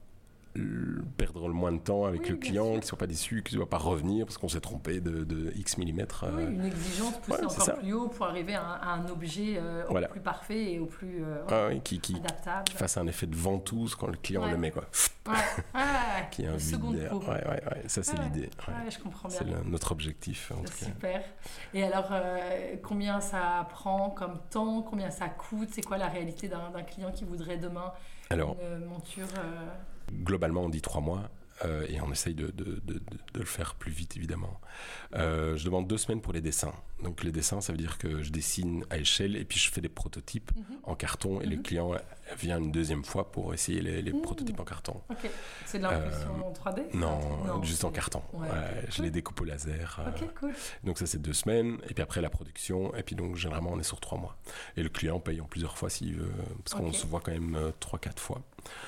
C: le- perdre le moins de temps avec
A: Oui,
C: le
A: bien
C: client,
A: sûr.
C: qu'il ne soit pas déçu, qu'il ne doit pas revenir parce qu'on s'est trompé de, de X millimètres.
A: Oui,
C: euh,
A: une exigence poussée
C: ouais, c'est
A: encore
C: ça.
A: plus haut pour arriver à un, à un objet euh,
C: Voilà.
A: au plus parfait et au plus euh,
C: ah ouais, qui, qui,
A: adaptable.
C: qui fasse un effet de ventouse quand le client
A: Ouais.
C: le met, quoi.
A: Ouais, ouais, ouais.
C: Qui est un
A: Ah, Le
C: vide
A: seconde
C: d'air.
A: peau.
C: Ouais, ouais, ouais, ça c'est
A: Ouais,
C: l'idée. ouais.
A: Ouais, je comprends bien.
C: C'est le- notre objectif. en tout cas.
A: Super. Et alors, euh, combien ça prend comme temps Combien ça coûte C'est quoi la réalité d'un d'un client qui voudrait demain
C: Alors,
A: une monture euh,
C: globalement, on dit trois mois. euh, et on essaye de, de- de- de- de le faire plus vite, évidemment. Euh, je demande deux semaines pour les dessins. Donc, les dessins, ça veut dire que je dessine à échelle et puis je fais des prototypes
A: Mhm.
C: en carton. Et le
A: Mhm. Mmh.
C: client vient une deuxième fois pour essayer les, les prototypes en carton.
A: Ok. C'est de l'impression en 3D c'est un
C: Euh, Non,
A: truc-
C: juste
A: Ah, c'est-
C: en carton.
A: Ouais,
C: Ouais, je
A: cool.
C: les découpe au laser. euh,
A: Ok, cool.
C: Donc ça, c'est deux semaines. Et puis après, la production. Et puis donc, généralement, on est sur trois mois. Et le client paye en plusieurs fois s'il veut. Parce qu'on
A: Ok.
C: se voit quand même euh, trois, quatre fois.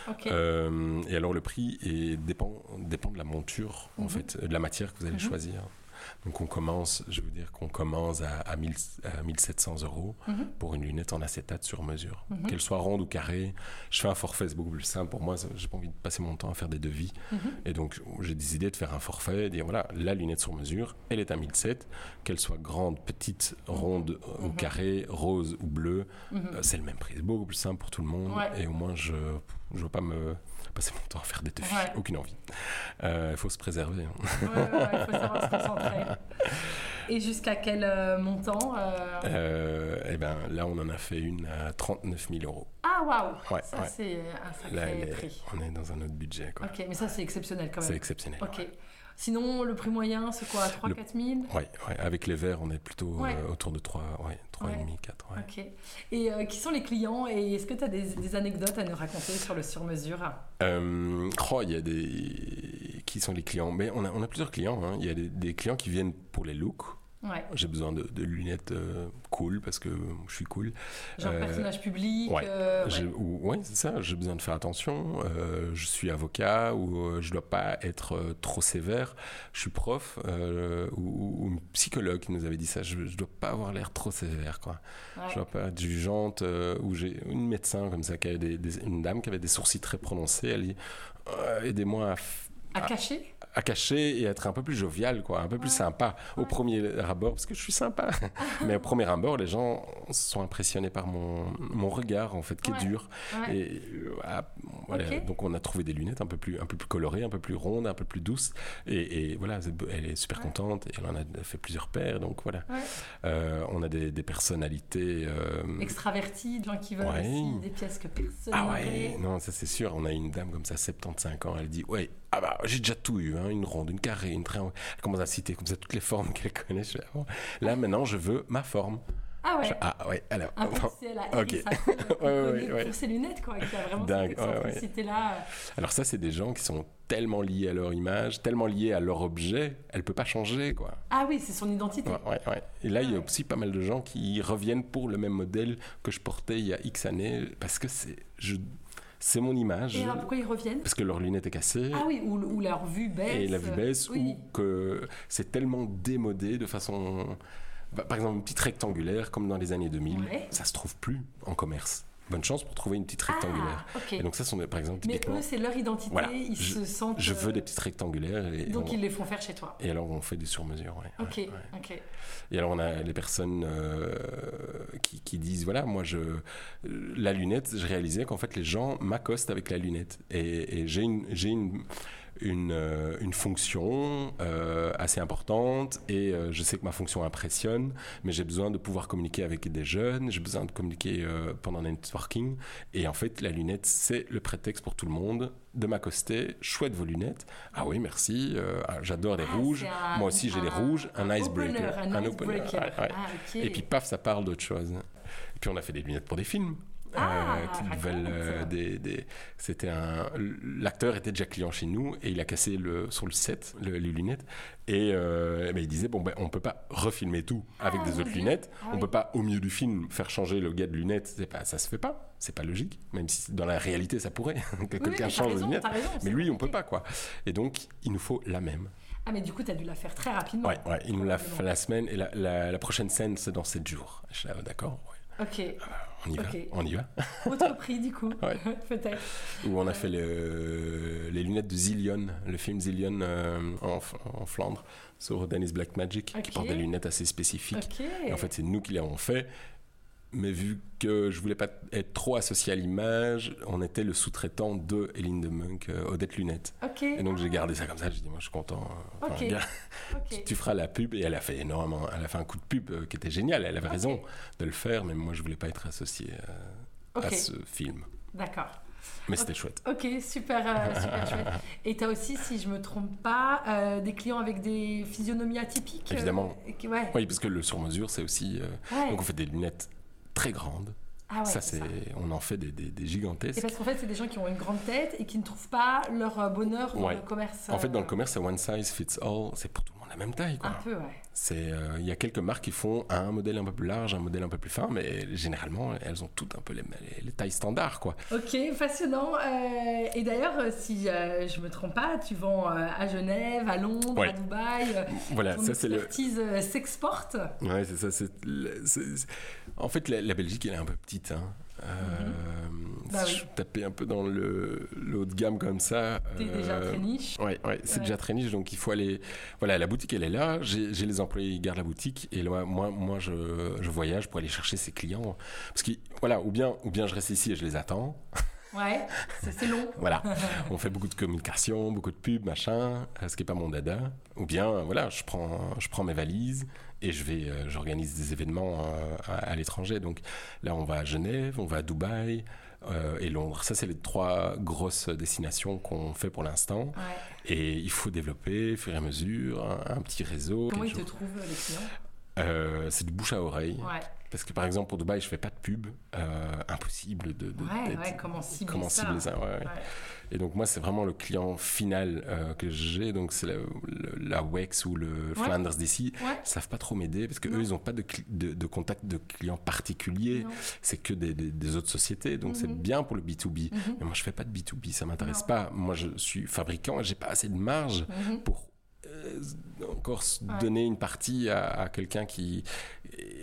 A: Ok.
C: Euh, et alors, le prix est- dépend, dépend de la monture, en
A: Mhm.
C: fait, de la matière que vous allez
A: Mhm.
C: choisir. Donc on commence, je veux dire qu'on commence à, à, 1000 à 1700 euros
A: Mhm.
C: pour une lunette en acétate sur mesure.
A: Mhm.
C: Qu'elle soit ronde ou carrée, je fais un forfait, c'est beaucoup plus simple pour moi, ça- j'ai pas envie de passer mon temps à faire des devis.
A: Mhm.
C: Et donc j'ai décidé de faire un forfait, dire voilà, la lunette sur mesure, elle est à 1700, qu'elle soit grande, petite, ronde euh, ou
A: Mhm.
C: carrée, rose ou bleue,
A: Mhm.
C: euh, c'est le même prix, c'est beaucoup plus simple pour tout le monde.
A: Ouais.
C: Et au moins je je veux pas me passer mon temps à faire des devis,
A: Ouais.
C: aucune envie. Il faut se préserver. hein.
A: Ouais, ouais, ouais, il faut savoir se concentrer. Et jusqu'à quel euh, montant euh,
C: Euh, eh ben, là, on en a fait une à 39 000 euros.
A: Ah, waouh
C: Ouais,
A: Ça,
C: ouais.
A: c'est un sacré
C: Là, elle est-
A: prix.
C: on est dans un autre budget. quoi.
A: Ok, mais ça, c'est exceptionnel quand
C: C'est
A: même.
C: exceptionnel.
A: Ok.
C: ouais.
A: Sinon, le prix moyen, c'est quoi 3-4
C: Le-
A: 000
C: Ouais, ouais, Avec les verres, on est plutôt euh,
A: Ouais.
C: autour de 3, ouais, trois
A: Ouais.
C: et demi, 4. ouais.
A: Ok. Et euh, qui sont les clients Et est-ce que tu as des, des anecdotes à nous raconter sur le sur-mesure
C: Euh, oh, il y a des. Qui sont les clients Mais on a, on a plusieurs clients. hein. Il y a des, des clients qui viennent pour les looks.
A: Ouais.
C: J'ai besoin de, de lunettes euh, cool parce que je suis cool.
A: Genre
C: Euh,
A: personnage public
C: ouais.
A: euh, ouais.
C: J'ai- ou- ouais, c'est ça, j'ai besoin de faire attention. euh, je suis avocat ou euh, je dois pas être euh, trop sévère. Je suis prof euh, ou, ou- ou une psychologue qui nous avait dit ça. Je, je dois pas avoir l'air trop sévère, quoi.
A: Ouais.
C: Je dois pas être jugeante. euh, ou j'ai une médecin comme ça, qui avait des- des- une dame qui avait des sourcils très prononcés. Elle dit Euh, Aidez-moi à f-
A: À cacher
C: à cacher et être un peu plus jovial, quoi, un peu plus sympa au premier abord, parce que je suis sympa. Mais au premier abord, les gens sont impressionnés par mon, mon regard, en fait, qui
A: Ouais.
C: est dur.
A: Ouais.
C: Et euh, ah, voilà,
A: Ok.
C: donc on a trouvé des lunettes un peu plus, un peu plus colorées, un peu plus rondes, un peu plus douces. Et, et voilà, c'est- elle est super
A: Ouais.
C: contente. Et elle en a fait plusieurs paires, donc voilà.
A: Ouais.
C: Euh, on a des, des personnalités. euh,
A: Extravertis, des gens qui veulent
C: Ouais.
A: aussi des pièces que personne
C: ah
A: n'a
C: ouais,
A: volées.
C: non, ça c'est sûr. On a une dame comme ça, 75 ans, elle dit Ouais, ah bah j'ai déjà tout eu, hein, une ronde, une carrée, une triangle. Elle commence à citer comme ça toutes les formes qu'elle connaît. Je fais, Ah bon. Là maintenant, je veux ma forme.
A: Ah
C: Je
A: ouais.
C: fais, ah ouais, alors.
A: Un
C: enfin,
A: pixel à
C: ok.
A: Iris Apfel,
C: Ouais, ouais,
A: connu
C: ouais, ouais.
A: euh, pour ses lunettes, quoi, qui a vraiment
C: Dingue,
A: cette
C: ouais, ouais.
A: excentricité-là.
C: Alors ça, c'est des gens qui sont tellement liés à leur image, tellement liés à leur objet, elle peut pas changer, quoi.
A: Ah oui, c'est son identité.
C: Ouais, ouais, ouais. Et là, il y a aussi pas mal de gens qui reviennent pour le même modèle que je portais il y a X années, parce que c'est je- c'est mon image,
A: Et alors, pourquoi ils reviennent
C: parce que leur lunette est cassée.
A: Ah oui, ou, ou leur vue baisse.
C: et la vue baisse,
A: Oui.
C: ou que c'est tellement démodé de façon. bah, par exemple, une petite rectangulaire, comme dans les années 2000,
A: Ouais.
C: ça se trouve plus en commerce. Bonne chance pour trouver une petite rectangulaire.
A: Ah, ok.
C: Et donc, ça, sont des- par exemple,
A: Mais
C: typiquement,
A: eux, c'est leur identité,
C: Voilà,
A: ils
C: je-
A: se sentent.
C: je veux
A: euh,
C: des petites rectangulaires. Et,
A: Donc
C: on-
A: ils les font faire chez toi.
C: et alors, on fait des sur-mesures. ouais,
A: Ok,
C: ouais, ouais.
A: ok.
C: Et alors on a les personnes euh, qui, qui disent voilà moi je la lunette je réalisais qu'en fait les gens m'accostent avec la lunette et, et j'ai une j'ai une une, euh, une fonction euh, assez importante et euh, je sais que ma fonction impressionne mais j'ai besoin de pouvoir communiquer avec des jeunes j'ai besoin de communiquer euh, pendant un networking et en fait la lunette c'est le prétexte pour tout le monde de m'accoster chouette vos lunettes ah oui merci euh, ah, j'adore les
A: Ah,
C: rouges
A: c'est un-
C: moi aussi j'ai les rouges un icebreaker
A: opener, un,
C: opener,
A: icebreaker.
C: ouais, ouais.
A: Ah, ok.
C: Et puis paf, ça parle d'autre chose. Et puis on a fait des lunettes pour des films. Euh,
A: Ah,
C: qui
A: raconte.
C: nouvelles, euh, des, des- c'était un l'acteur était déjà client chez nous et il a cassé le sur le set le- les lunettes et euh, ben, il disait bon ben on peut pas refilmer tout avec
A: Ah,
C: des
A: mon
C: autres
A: Dieu.
C: lunettes
A: Ah
C: on
A: oui.
C: peut pas au milieu du film faire changer le gars de lunettes c'est pas ça se fait pas c'est pas logique même si dans la réalité ça pourrait que
A: Oui, oui,
C: quelqu'un
A: mais t'as
C: change de
A: raison,
C: lunettes
A: t'as raison,
C: mais
A: c'est
C: lui on peut
A: compliqué.
C: pas quoi et donc il nous faut la même
A: Ah, mais du coup, t'as dû la faire très rapidement.
C: Ouais, ouais, il nous l'a fait
A: Probablement.
C: la semaine et la, la- la prochaine scène, c'est dans 7 jours. Je suis là, ah, d'accord, ouais,
A: Ok.
C: on y va,
A: Ok.
C: on y va.
A: Autre prix, du coup.
C: Ouais.
A: Peut-être.
C: Où on a fait le- les lunettes de Zillion, le film Zillion euh, en, F- en Flandre, sur Dennis Black Magic,
A: Ok.
C: qui porte des lunettes assez spécifiques.
A: Ok.
C: Et en fait, c'est nous qui l'avons fait. Mais vu que je voulais pas être trop associé à l'image, on était le sous-traitant de Hélène de Monk, euh, Odette Lunettes.
A: Ok.
C: Et donc j'ai gardé ça comme ça, j'ai dit, moi je suis content. euh,
A: Ah. Ok.
C: le gars-
A: ok.
C: Tu feras la pub et elle a fait énormément. Elle a fait un coup de pub euh, qui était génial. Elle avait raison de le faire, mais moi je voulais pas être associé euh,
A: Ok.
C: à ce film.
A: D'accord.
C: Mais c'était chouette.
A: Ok, super, euh, super chouette. Et t'as aussi, si je me trompe pas, euh, des clients avec des physionomies atypiques. euh,
C: Évidemment.
A: qui- ouais.
C: Oui, parce que le sur-mesure, c'est aussi. euh,
A: Ouais.
C: Donc on fait des lunettes très grandes.
A: Ah ouais,
C: ça, c'est. On en fait des, des- des
A: Et
C: gigantesques.
A: parce qu'en fait, c'est des gens qui ont une grande tête et qui ne trouvent pas leur euh, bonheur dans
C: Ouais.
A: le commerce.
C: En fait, dans le
A: euh,
C: commerce, c'est one size fits all. C'est pour tout le monde la même taille, quoi.
A: Un peu, ouais.
C: C'est, euh, Il y a quelques marques qui font un modèle un peu plus large, un modèle un peu plus fin, mais généralement, elles ont toutes un peu les, les- les tailles standards, quoi.
A: Ok, passionnant. Euh, et d'ailleurs, euh, si euh, je me trompe pas, tu vends euh, à Genève, à Londres,
C: Ouais.
A: à Dubaï. euh,
C: Voilà,
A: Ton
C: ça, c'est le,
A: expertise euh, s'exporte.
C: Ouais, c'est ça. c'est- le- c'est- c'est- En fait, la, la Belgique, elle est un peu petite. hein. Euh,
A: Bah
C: si
A: oui.
C: je tapais un peu dans le, le haut de gamme comme ça.
A: T'es déjà
C: euh,
A: très niche.
C: Ouais, ouais, c'est
A: Ouais.
C: déjà très niche, donc il faut aller. Voilà, la boutique elle est là, j'ai j'ai les employés qui gardent la boutique et là, moi, moi je, je voyage pour aller chercher ces clients. Parce que, voilà, ou bien, ou bien je reste ici et je les attends.
A: Ouais, c'est c'est long.
C: Voilà, on fait beaucoup de communication, beaucoup de pubs, machin, euh, ce qui n'est pas mon dada. Ou bien, euh, voilà, je prends, je prends mes valises et je vais, euh, j'organise des événements euh, à, à l'étranger. Donc là, on va à Genève, on va à Dubaï euh, et Londres. Ça, c'est les trois grosses destinations qu'on fait pour l'instant.
A: Ouais.
C: Et il faut développer, au fur et à mesure, un, un petit réseau.
A: Comment ils
C: quelque
A: te
C: chose.
A: trouvent, euh, les clients
C: Euh, c'est du bouche à oreille.
A: Ouais,
C: Parce que, par exemple, pour Dubaï, je fais pas de pub. Euh, impossible de... de-
A: ouais,
C: d'être-
A: ouais, comment cibler
C: Comment
A: ça
C: cibler ça ouais, ouais.
A: Ouais.
C: Et donc moi, c'est vraiment le client final euh, que j'ai. Donc c'est la, le- la WEX ou le Flanders d'ici.
A: Ouais.
C: Ils savent pas trop m'aider parce que
A: Non.
C: eux, ils n'ont pas de, cli- de, de contact de clients particuliers.
A: Non.
C: C'est que des, des- des autres sociétés. Donc c'est
A: Mhm.
C: bien pour le B2B.
A: Mhm.
C: Mais moi, je fais pas de B2B. Ça m'intéresse
A: Non.
C: pas. Moi, je suis fabricant et j'ai pas assez de marge
A: Mhm.
C: pour euh, encore s-
A: Ouais.
C: donner une partie à, à quelqu'un qui,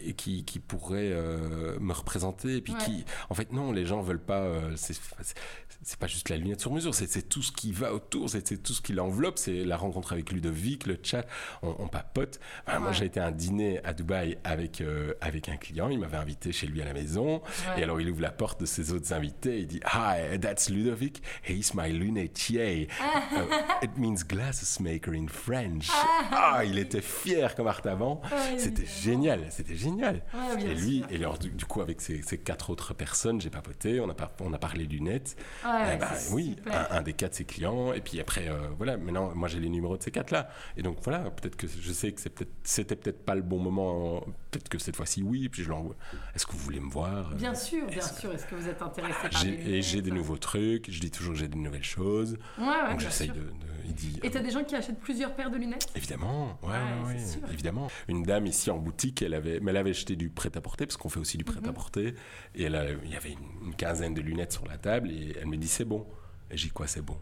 C: et qui, qui pourrait euh, me représenter. Et puis
A: Ouais.
C: qui, en fait, non, les gens veulent pas. euh, c'est- c'est- c'est pas juste la lunette sur mesure, c'est c'est tout ce qui va autour, c'est c'est tout ce qui l'enveloppe. C'est la rencontre avec Ludovic, le chat, on, on papote. Enfin, Moi,
A: Ouais.
C: j'ai été à un dîner à Dubaï avec, euh, avec un client, il m'avait invité chez lui à la maison.
A: Ouais.
C: Et alors, il ouvre la porte de ses autres invités, il dit Hi, that's Ludovic, he's my lunetier. Uh, it means glasses maker in French. Ah, il était fier comme Artaban.
A: Ouais,
C: C'était
A: évidemment.
C: génial, c'était génial.
A: Ouais, Ah, bien
C: et lui,
A: sûr.
C: et alors, du, du coup, avec ces, ces quatre autres personnes, j'ai papoté, on a, par- on a parlé lunettes.
A: Ah Ouais,
C: Eh ben,
A: c'est
C: oui,
A: super.
C: un, un des quatre, c'est client. Et puis après, euh, voilà, maintenant, moi, j'ai les numéros de ces quatre-là. Et donc, voilà, peut-être que je sais que c'est peut-être- c'était peut-être pas le bon moment. Peut-être que cette fois-ci, oui. Puis je l'envoie. Est-ce que vous voulez me voir
A: Bien sûr, bien
C: euh, Est-ce que-
A: sûr. Est-ce que vous êtes intéressé
C: Voilà,
A: par
C: j'ai-
A: les
C: Et j'ai des
A: lunettes
C: nouveaux trucs. Je dis toujours que j'ai des nouvelles choses.
A: Ouais, ouais,
C: donc,
A: Ah, bien
C: j'essaye
A: sûr.
C: de, de- Il dit.
A: Et
C: euh,
A: t'as des gens qui achètent plusieurs paires de lunettes
C: Évidemment, ouais,
A: Ouais,
C: ouais,
A: c'est
C: ouais,
A: sûr.
C: évidemment. Une dame ici en boutique, elle avait, mais elle avait acheté du prêt-à-porter parce qu'on fait aussi du
A: Mhm.
C: prêt-à-porter. Et elle a- il y avait une, une quinzaine de lunettes sur la table et elle me dit c'est bon. Et j'ai dit, quoi c'est bon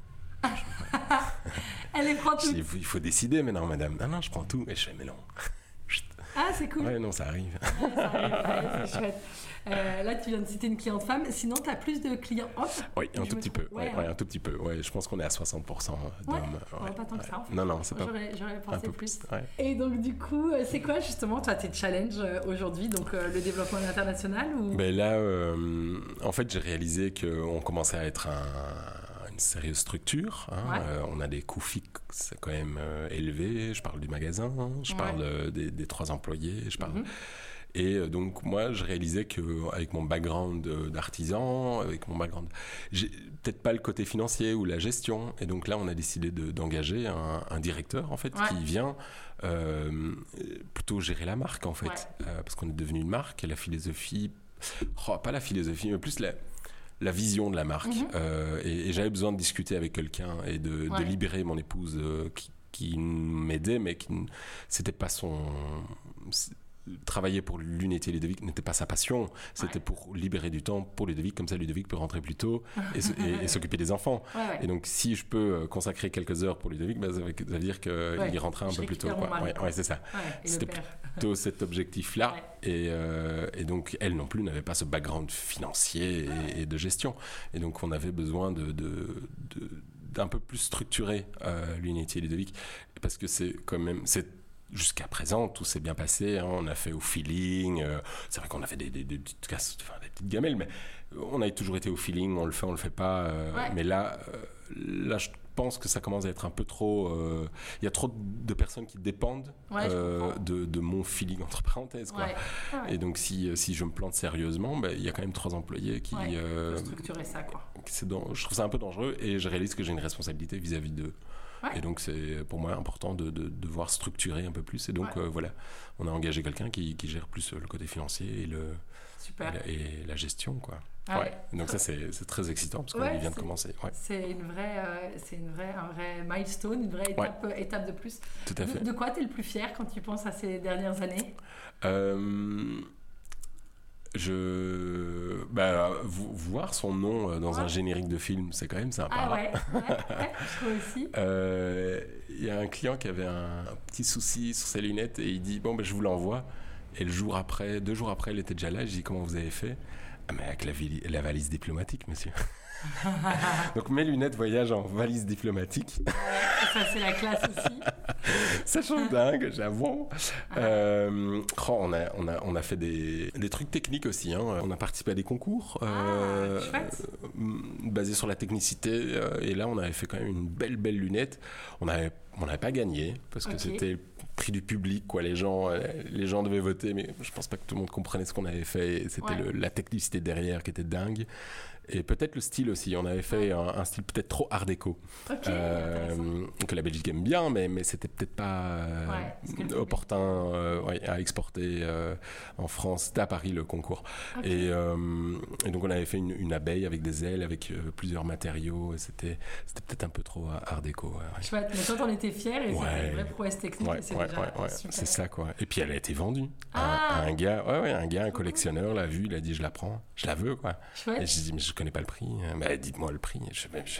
A: Elle les prend
C: Je dis,
A: toutes.
C: il faut- il faut décider maintenant madame. Ah Non non je prends tout. Et je fais mais non. Chut.
A: Ah, c'est cool.
C: Ouais non ça arrive.
A: Ah, Ça arrive, ouais, c'est chouette. Euh, là, tu viens de citer une cliente femme. Sinon, tu as plus de clients hommes.
C: Oui un
A: Je
C: tout
A: me
C: petit peu.
A: trompe.
C: Ouais,
A: Ouais. hein.
C: ouais, un tout petit peu. Ouais je pense qu'on est à 60% d'hommes.
A: Ouais,
C: Ouais,
A: pas tant que ça, en fait.
C: Non non c'est pas
A: J'aurais j'aurais
C: un
A: pensé
C: peu
A: plus.
C: plus. Ouais.
A: Et donc, du coup, euh, c'est quoi justement, toi, tes challenges euh, aujourd'hui Donc, euh, le développement international ou... Mhm.
C: Ben là, euh, en fait, j'ai réalisé qu'on commençait à être un- une sérieuse structure. hein.
A: Ouais.
C: Euh, on a des coûts fixes quand même euh, élevés. Je parle du magasin, je
A: Ouais.
C: parle euh, des, des trois employés, je parle.
A: Mhm.
C: Et euh, donc, moi, je réalisais qu'avec mon background euh, d'artisan, avec mon background. J'ai peut-être pas le côté financier ou la gestion. Et donc là, on a décidé de- d'engager un, un directeur, en fait,
A: Ouais.
C: qui vient euh, plutôt gérer la marque, en fait.
A: Ouais.
C: Euh, parce qu'on est devenu une marque et la philosophie Oh, pas la philosophie, mais plus la, la vision de la marque.
A: Mhm.
C: Euh, et et j'avais besoin de discuter avec quelqu'un et de, de
A: Ouais.
C: libérer mon épouse euh, qui, qui m'aidait, mais qui n- c'était pas son. c'est- Travailler pour Lunetti et Ludovic n'était pas sa passion, c'était
A: Ouais.
C: pour libérer du temps pour Ludovic, comme ça Ludovic peut rentrer plus tôt et se- et- et s'occuper des enfants.
A: Ouais, ouais.
C: Et donc, si je peux euh, consacrer quelques heures pour Ludovic, bah, ça veut ça veut dire qu'il
A: Ouais,
C: est rentré un
A: je
C: peu plus tôt.
A: récupère mon
C: quoi.
A: mari,
C: Ouais,
A: quoi.
C: ouais, c'est ça
A: Ouais, et le
C: c'était
A: père.
C: plutôt cet objectif-là.
A: Ouais.
C: Et, euh, et donc, elle non plus n'avait pas ce background financier et, et de gestion. Et donc, on avait besoin de, de- de- d'un peu plus structurer euh, l'unité Ludovic. Parce que c'est quand même. C'est, Jusqu'à présent, tout s'est bien passé. hein. On a fait au feeling. euh, c'est vrai qu'on a fait des, des- des petites casses, enfin, des petites gamelles, mais euh, on a toujours été au feeling. On le fait, on le fait pas. euh,
A: Ouais.
C: Mais là, euh, là, je pense que ça commence à être un peu trop. euh, Il y a trop de personnes qui dépendent
A: Ouais, je
C: euh,
A: comprends.
C: de, de mon feeling entre parenthèses quoi.
A: Ouais. Ah ouais.
C: Et donc si, euh, si je me plante sérieusement, ben, il y a quand même trois employés qui...
A: Ouais,
C: euh,
A: Faut structurer ça, quoi.
C: qui- c'est dan- je trouve ça un peu dangereux et je réalise que j'ai une responsabilité vis-à-vis d'eux.
A: Ouais.
C: Et donc c'est pour moi important de, de, de devoir structurer un peu plus. Et donc
A: Ouais.
C: euh, voilà, on a engagé quelqu'un qui, qui gère plus euh, le côté financier et, le, et,
A: Super.
C: la, et la gestion. Quoi.
A: Ah ouais.
C: Donc ça c'est c'est très excitant parce qu'on
A: Ouais,
C: vient de
A: c'est-
C: commencer. Ouais,
A: C'est une vraie, euh, c'est une vraie, un vrai milestone, une vraie étape, euh, étape de plus.
C: tout à fait.
A: De, de quoi t'es le plus fier quand tu penses à ces dernières années
C: Euh, je bah, vo- voir son nom euh, dans un
A: Ouais.
C: générique de film, c'est quand même sympa.
A: Ah ouais, ouais, ouais, je trouve aussi.
C: Euh, Il y a un client qui avait un, un petit souci sur ses lunettes et il dit bon ben je vous l'envoie. Et le jour après, deux jours après, elle était déjà là. Je dis comment vous avez fait Ah mais avec la, vali- la valise diplomatique, monsieur. Donc mes lunettes voyagent en valise diplomatique.
A: Ça, c'est la classe aussi.
C: Ça change dingue, j'avoue.
A: Ah.
C: Euh, oh, on, a, on, a, on a fait des, des trucs techniques aussi. hein. On a participé à des concours euh,
A: Ah, chouette.
C: euh, basés sur la technicité. euh, et là, on avait fait quand même une belle, belle lunette. On n'avait on n'avait pas gagné parce que
A: Ok.
C: c'était le prix du public. Quoi. Les, gens, euh, les gens devaient voter, mais je pense pas que tout le monde comprenait ce qu'on avait fait. Et C'était
A: Ouais.
C: le- la technicité derrière qui était dingue. Et peut-être le style aussi. On avait fait un, un style peut-être trop art déco.
A: Ok,
C: Euh,
A: intéressant.
C: que la Belgique aime bien, mais, mais c'était peut-être pas euh,
A: Ouais, parce que le public-
C: opportun euh, ouais, à exporter euh, en France. C'était à Paris le concours.
A: Ok.
C: Et, euh, et donc on avait fait une, une abeille avec des ailes, avec euh, plusieurs matériaux. et C'était c'était peut-être un peu trop art déco. ouais, ouais.
A: Chouette, mais toi t'en étais fier et c'était
C: Ouais.
A: une vraie prouesse technique.
C: Ouais,
A: et c'est
C: ouais,
A: déjà
C: ouais, ouais,
A: super.
C: c'est ça quoi. Et puis elle a été vendue. à-
A: Ah.
C: à un gars, ouais, ouais, un gars, un collectionneur l'a vue, il a dit je la prends, je la veux quoi. Et
A: Chouette.
C: je dis mais je connais pas le prix bah, Dites-moi le prix. Je, je...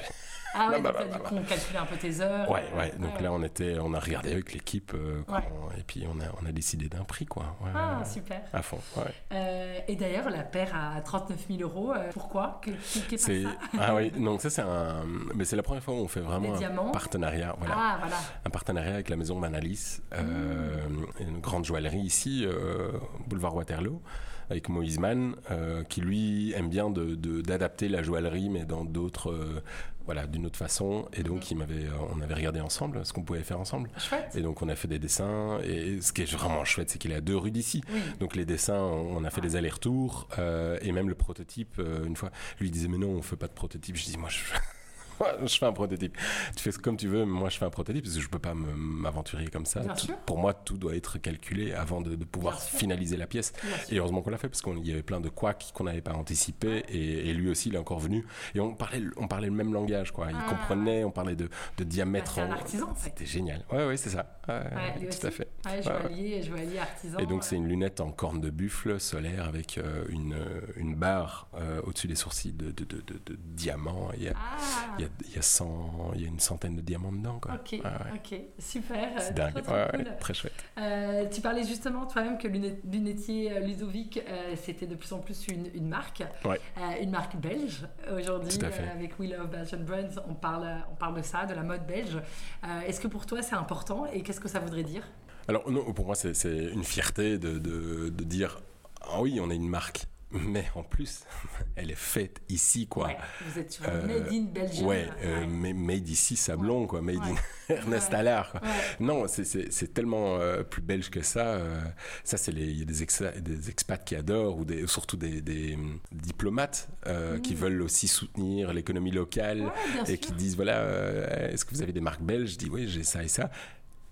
A: Ah ouais, donc
C: Bah, bah,
A: là,
C: bah,
A: du
C: bah.
A: coup, on calculait un peu tes heures.
C: Ouais,
A: euh,
C: ouais. Donc là, on était, on a regardé avec l'équipe euh,
A: Ouais.
C: comment- et puis on a, on a décidé d'un prix, quoi. Ouais,
A: Ah,
C: ouais.
A: super.
C: à fond. ouais.
A: Euh, et d'ailleurs, la paire à 39 000 euros, euh, pourquoi Que- qui- qui est pas
C: C'est
A: ça
C: ah oui. Donc ça, c'est un. Mais c'est la première fois où on fait
A: Les
C: vraiment
A: diamants.
C: un partenariat. Voilà.
A: Ah, voilà.
C: un partenariat avec la maison Manalis, euh,
A: Mm.
C: une grande joaillerie ici, euh, boulevard Waterloo, avec Moïse Mann, euh, qui lui aime bien de- de- d'adapter la joaillerie, mais dans d'autres, euh, voilà, d'une autre façon. Et
A: Mm.
C: donc, il m'avait, euh, on avait regardé ensemble ce qu'on pouvait faire ensemble.
A: Chouette.
C: Et donc, on a fait des dessins. Et ce qui est vraiment chouette, c'est qu'il est à deux rues d'ici.
A: Oui.
C: Donc les dessins, on on a fait des allers-retours euh, et même le prototype. euh, une fois, lui il disait mais non, on fait pas de prototype. Je dis moi je, moi, je fais un prototype. Tu fais comme tu veux, mais moi je fais un prototype parce que je peux pas me- m'aventurer comme ça.
A: Bien
C: Tout-
A: sûr.
C: Pour moi, tout doit être calculé avant de, de pouvoir
A: Bien sûr.
C: finaliser la pièce.
A: Bien sûr.
C: Et heureusement qu'on l'a fait parce qu'il y avait plein de couacs qu'on n'avait pas anticipé et, et lui aussi il est encore venu et on parlait on parlait le même langage quoi. Il
A: Ah.
C: comprenait, on parlait de, de diamètre.
A: c'est un
C: en-
A: artisan, en fait.
C: C'était génial. Ouais ouais c'est ça. Ouais,
A: Ouais, lui
C: tout
A: aussi.
C: à fait.
A: Ouais,
C: Ouais, ouais.
A: joaillier, joaillier artisan.
C: Et donc, c'est
A: euh,
C: une lunette en corne de buffle solaire avec euh, une, euh, une barre euh, au-dessus des sourcils de, de, de, de- de diamants. Il y a,
A: Ah,
C: il y a, il y a cent- il y a une centaine de diamants dedans. Quoi.
A: ok,
C: Ouais, ouais.
A: ok, super. euh,
C: C'est dingue.
A: trop, trop
C: Ouais, ouais,
A: cool.
C: très chouette.
A: Euh, tu parlais justement toi-même que lunet- Lunetier euh, Ludovic, euh, c'était de plus en plus une, une marque,
C: Ouais.
A: Euh, une marque belge. Aujourd'hui,
C: Tout à fait.
A: euh, avec We Love Belgian Brands, on parle, on parle de ça, de la mode belge. Euh, Est-ce que pour toi c'est important et qu'est-ce que ça voudrait dire
C: Alors, non, pour moi, c'est c'est une fierté de, de, de dire Ah oui, on est une marque. Mais en plus, elle est faite ici, quoi.
A: Ouais, Vous êtes sur
C: Euh,
A: Made in Belgium.
C: Ouais, euh,
A: Ouais.
C: ma- made ici Sablon, quoi. Made in Ernest
A: Ouais.
C: Allard, quoi.
A: Ouais.
C: Non, c'est- c'est c'est tellement euh, plus belge que ça. euh, ça, c'est les- il y a des, exa- des expats qui adorent, ou des- surtout des, des, hum, diplomates euh,
A: Mmh.
C: qui veulent aussi soutenir l'économie locale
A: Ouais, bien
C: et
A: sûr.
C: qui disent voilà, euh, est-ce que vous avez des marques belges Je dis oui, j'ai ça et ça.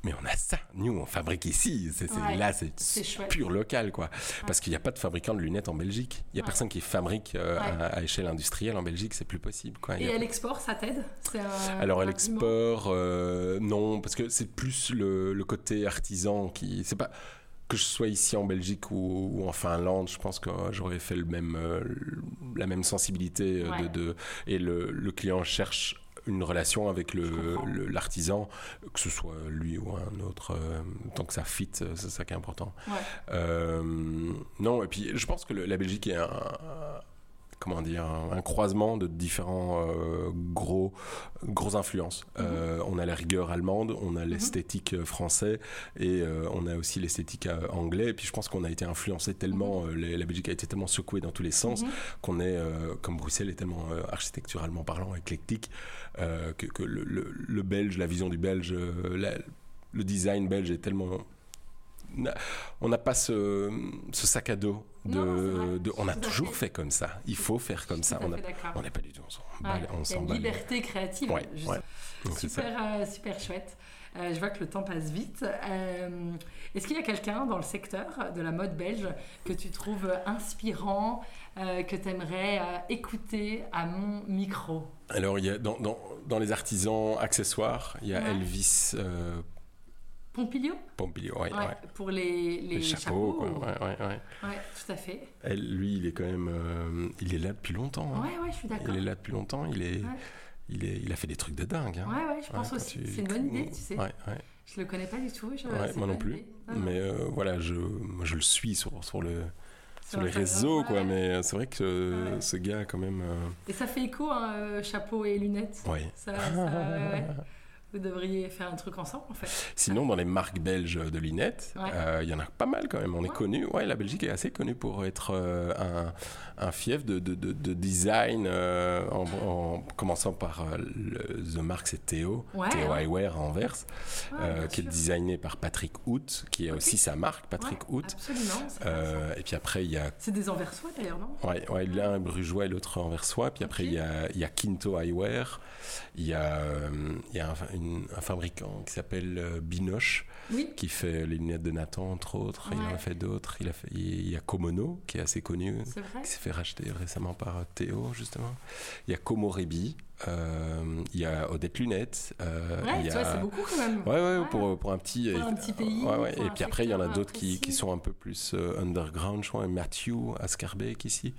C: Mais on a ça. Nous, on fabrique ici. C'est- c'est-
A: Ouais,
C: là, c'est
A: c'est chouette.
C: pur local, quoi. Parce qu'il n'y a pas de fabricant de lunettes en Belgique. Il n'y a
A: Ouais.
C: personne qui fabrique euh,
A: Ouais.
C: à, à échelle industrielle en Belgique. C'est plus possible, quoi. Il y
A: Et
C: a-
A: à l'export, ça t'aide C'est un-
C: alors à
A: un argument
C: l'export, euh, non, parce que c'est plus le, le côté artisan qui. C'est pas que je sois ici en Belgique ou, ou en Finlande, je pense que euh, j'aurais fait le même, euh, la même sensibilité euh, de-
A: Ouais.
C: de, et le, le client cherche une relation avec
A: Je
C: le-
A: comprends.
C: le- l'artisan, que ce soit lui ou un autre, euh, tant que ça fit, euh, c'est ça qui est important.
A: Ouais.
C: Euh, non, et puis je pense que le- la Belgique est un, comment dire, un, un croisement de différents euh, gros, grosses influences. Euh, on a la rigueur allemande, on a l'esthétique euh, français et euh, on a aussi l'esthétique euh, anglais. Et puis je pense qu'on a été influencé tellement, euh, les- la Belgique a été tellement secouée dans tous les sens
A: Mhm.
C: qu'on est, euh, comme Bruxelles est tellement euh, architecturalement parlant, éclectique, euh, que, que le, le- le belge, la vision du belge, euh, la- le design belge est tellement... na- On n'a pas ce, ce sac à dos. De,
A: Non, non, c'est vrai.
C: de- on
A: Je
C: a
A: suis tout à
C: toujours
A: fait-
C: fait comme ça. Il faut faire comme ça.
A: Tout à
C: On a-
A: fait d'accord.
C: on n'est pas du tout, on s'en
A: Ouais,
C: bat. on
A: Il y a
C: s'en
A: une
C: bat.
A: liberté créative.
C: Ouais,
A: justement.
C: ouais. Donc, c'est ça.
A: Super, euh, super chouette. Euh, je vois que le temps passe vite. Euh, Est-ce qu'il y a quelqu'un dans le secteur de la mode belge que tu trouves inspirant, euh, que tu aimerais écouter à mon micro
C: Alors, il y a, dans, dans- dans les artisans accessoires, il y a
A: Ouais.
C: Elvis euh,
A: Pompilio
C: Pompilio. ouais,
A: Ouais,
C: ouais.
A: Pour les, les
C: Les chapeaux, quoi. Ouais, ouais, ouais.
A: Ouais, tout à fait.
C: Elle, lui, il est quand même. euh, il est là depuis longtemps. hein.
A: Ouais, ouais, je suis d'accord.
C: Il est là depuis longtemps. Il, est,
A: Ouais.
C: il, est, il a fait des trucs de dingue. hein.
A: Ouais, ouais, je pense
C: quand
A: aussi.
C: tu-
A: C'est une bonne idée, tu sais.
C: Ouais, ouais.
A: Je le connais pas du tout. je-
C: Ouais,
A: c'est
C: moi
A: une
C: non
A: bonne
C: plus.
A: idée. Non, non.
C: Mais euh, voilà, je, moi, je le suis sur, sur, le, sur les
A: Instagram,
C: réseaux, quoi.
A: ouais.
C: Mais euh, c'est vrai que euh,
A: Ouais.
C: ce gars, quand même. euh,
A: Et ça fait écho, hein, euh, chapeau et lunettes.
C: ouais.
A: Ça, ça- ouais, ouais. Vous devriez faire un truc ensemble, en fait.
C: Sinon, dans les marques belges de lunettes, euh,
A: Ouais.
C: il y en a pas mal quand même. On
A: Ouais.
C: est connu. Ouais, la Belgique est assez connue pour être euh, un, un fief de, de- de- de design, euh, en, en commençant par euh, le- The Mark, c'est Théo,
A: Ouais,
C: Théo
A: ouais.
C: Eyewear à Anvers,
A: Ouais,
C: euh,
A: bien
C: qui est
A: sûr.
C: designé par Patrick Hout, qui est
A: Ok.
C: aussi sa marque, Patrick
A: Ouais,
C: Hout.
A: Absolument. c'est intéressant.
C: Euh, et puis après, il y a
A: C'est des enversois d'ailleurs, non
C: Ouais, ouais, l'un est brugeois et l'autre anversois. Puis après,
A: Ok.
C: il y a, il y a Quinto Eyewear. Il y a, euh, il y a un, une- un fabricant qui s'appelle euh, Binoche,
A: Oui.
C: qui fait les lunettes de Nathan, entre autres. Il en
A: Ouais.
C: a fait d'autres. Il, a fait- il y a Komono, qui est assez connu,
A: C'est vrai.
C: qui s'est fait racheter récemment par euh, Théo, justement. Il y a Komorebi. euh, il y a Odette Lunettes. euh,
A: Ouais,
C: il y
A: tu vois,
C: a-
A: c'est beaucoup quand même.
C: Ouais, ouais,
A: Ouais.
C: pour, pour un petit,
A: Pour un
C: et-
A: petit pays,
C: ouais, ouais.
A: pour
C: Et
A: un
C: puis après, il y en a
A: secteur
C: d'autres qui, qui
A: précis.
C: sont un peu plus euh, underground. Je crois Matthew Ascarbeck ici,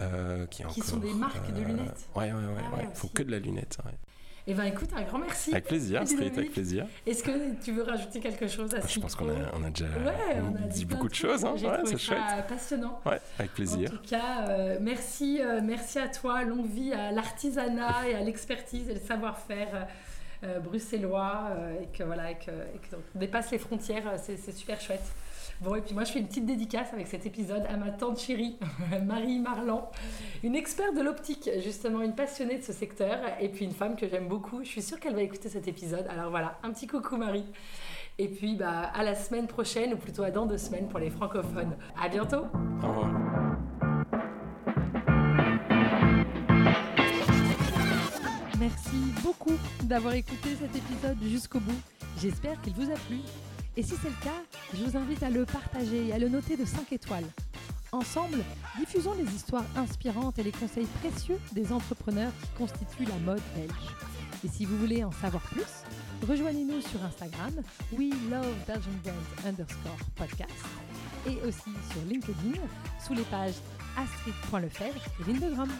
C: Euh, qui,
A: Qui
C: encore, euh,
A: sont des marques de lunettes.
C: Ouais, ouais, ouais.
A: Ah
C: ouais,
A: ouais,
C: Faut
A: aussi.
C: que de la lunette. ouais.
A: Eh ben écoute, un grand merci.
C: Avec plaisir,
A: Salut,
C: Astrid, avec
A: Dominique.
C: plaisir.
A: Est-ce que tu veux rajouter quelque chose à ce
C: Ah, Je pense qu'on
A: micro
C: a, on a déjà
A: Ah, Ouais, on a dit, plein
C: beaucoup de
A: trucs.
C: choses. Hein.
A: J'ai
C: Ouais,
A: trouvé
C: c'est
A: ça
C: chouette.
A: passionnant.
C: Ouais, avec plaisir.
A: En tout cas, euh, merci, euh, merci à toi. Longue vie à l'artisanat et à l'expertise et le savoir-faire euh, bruxellois euh, et que voilà, et que, et que on dépasse les frontières. euh, C'est, c'est super chouette. Bon, et puis moi, je fais une petite dédicace avec cet épisode à ma tante chérie, Marie Marlan, une experte de l'optique, justement, une passionnée de ce secteur, et puis une femme que j'aime beaucoup. Je suis sûre qu'elle va écouter cet épisode. Alors voilà, un petit coucou, Marie. Et puis, bah, à la semaine prochaine, ou plutôt à dans deux semaines pour les francophones. À bientôt!
C: Au revoir.
B: Merci beaucoup d'avoir écouté cet épisode jusqu'au bout. J'espère qu'il vous a plu. Et si c'est le cas, je vous invite à le partager et à le noter de 5 étoiles. Ensemble, diffusons les histoires inspirantes et les conseils précieux des entrepreneurs qui constituent la mode belge. Et si vous voulez en savoir plus, rejoignez-nous sur Instagram, we love Belgian Brands underscore podcast, et aussi sur LinkedIn, sous les pages astrid.lefebvre et Lindegram.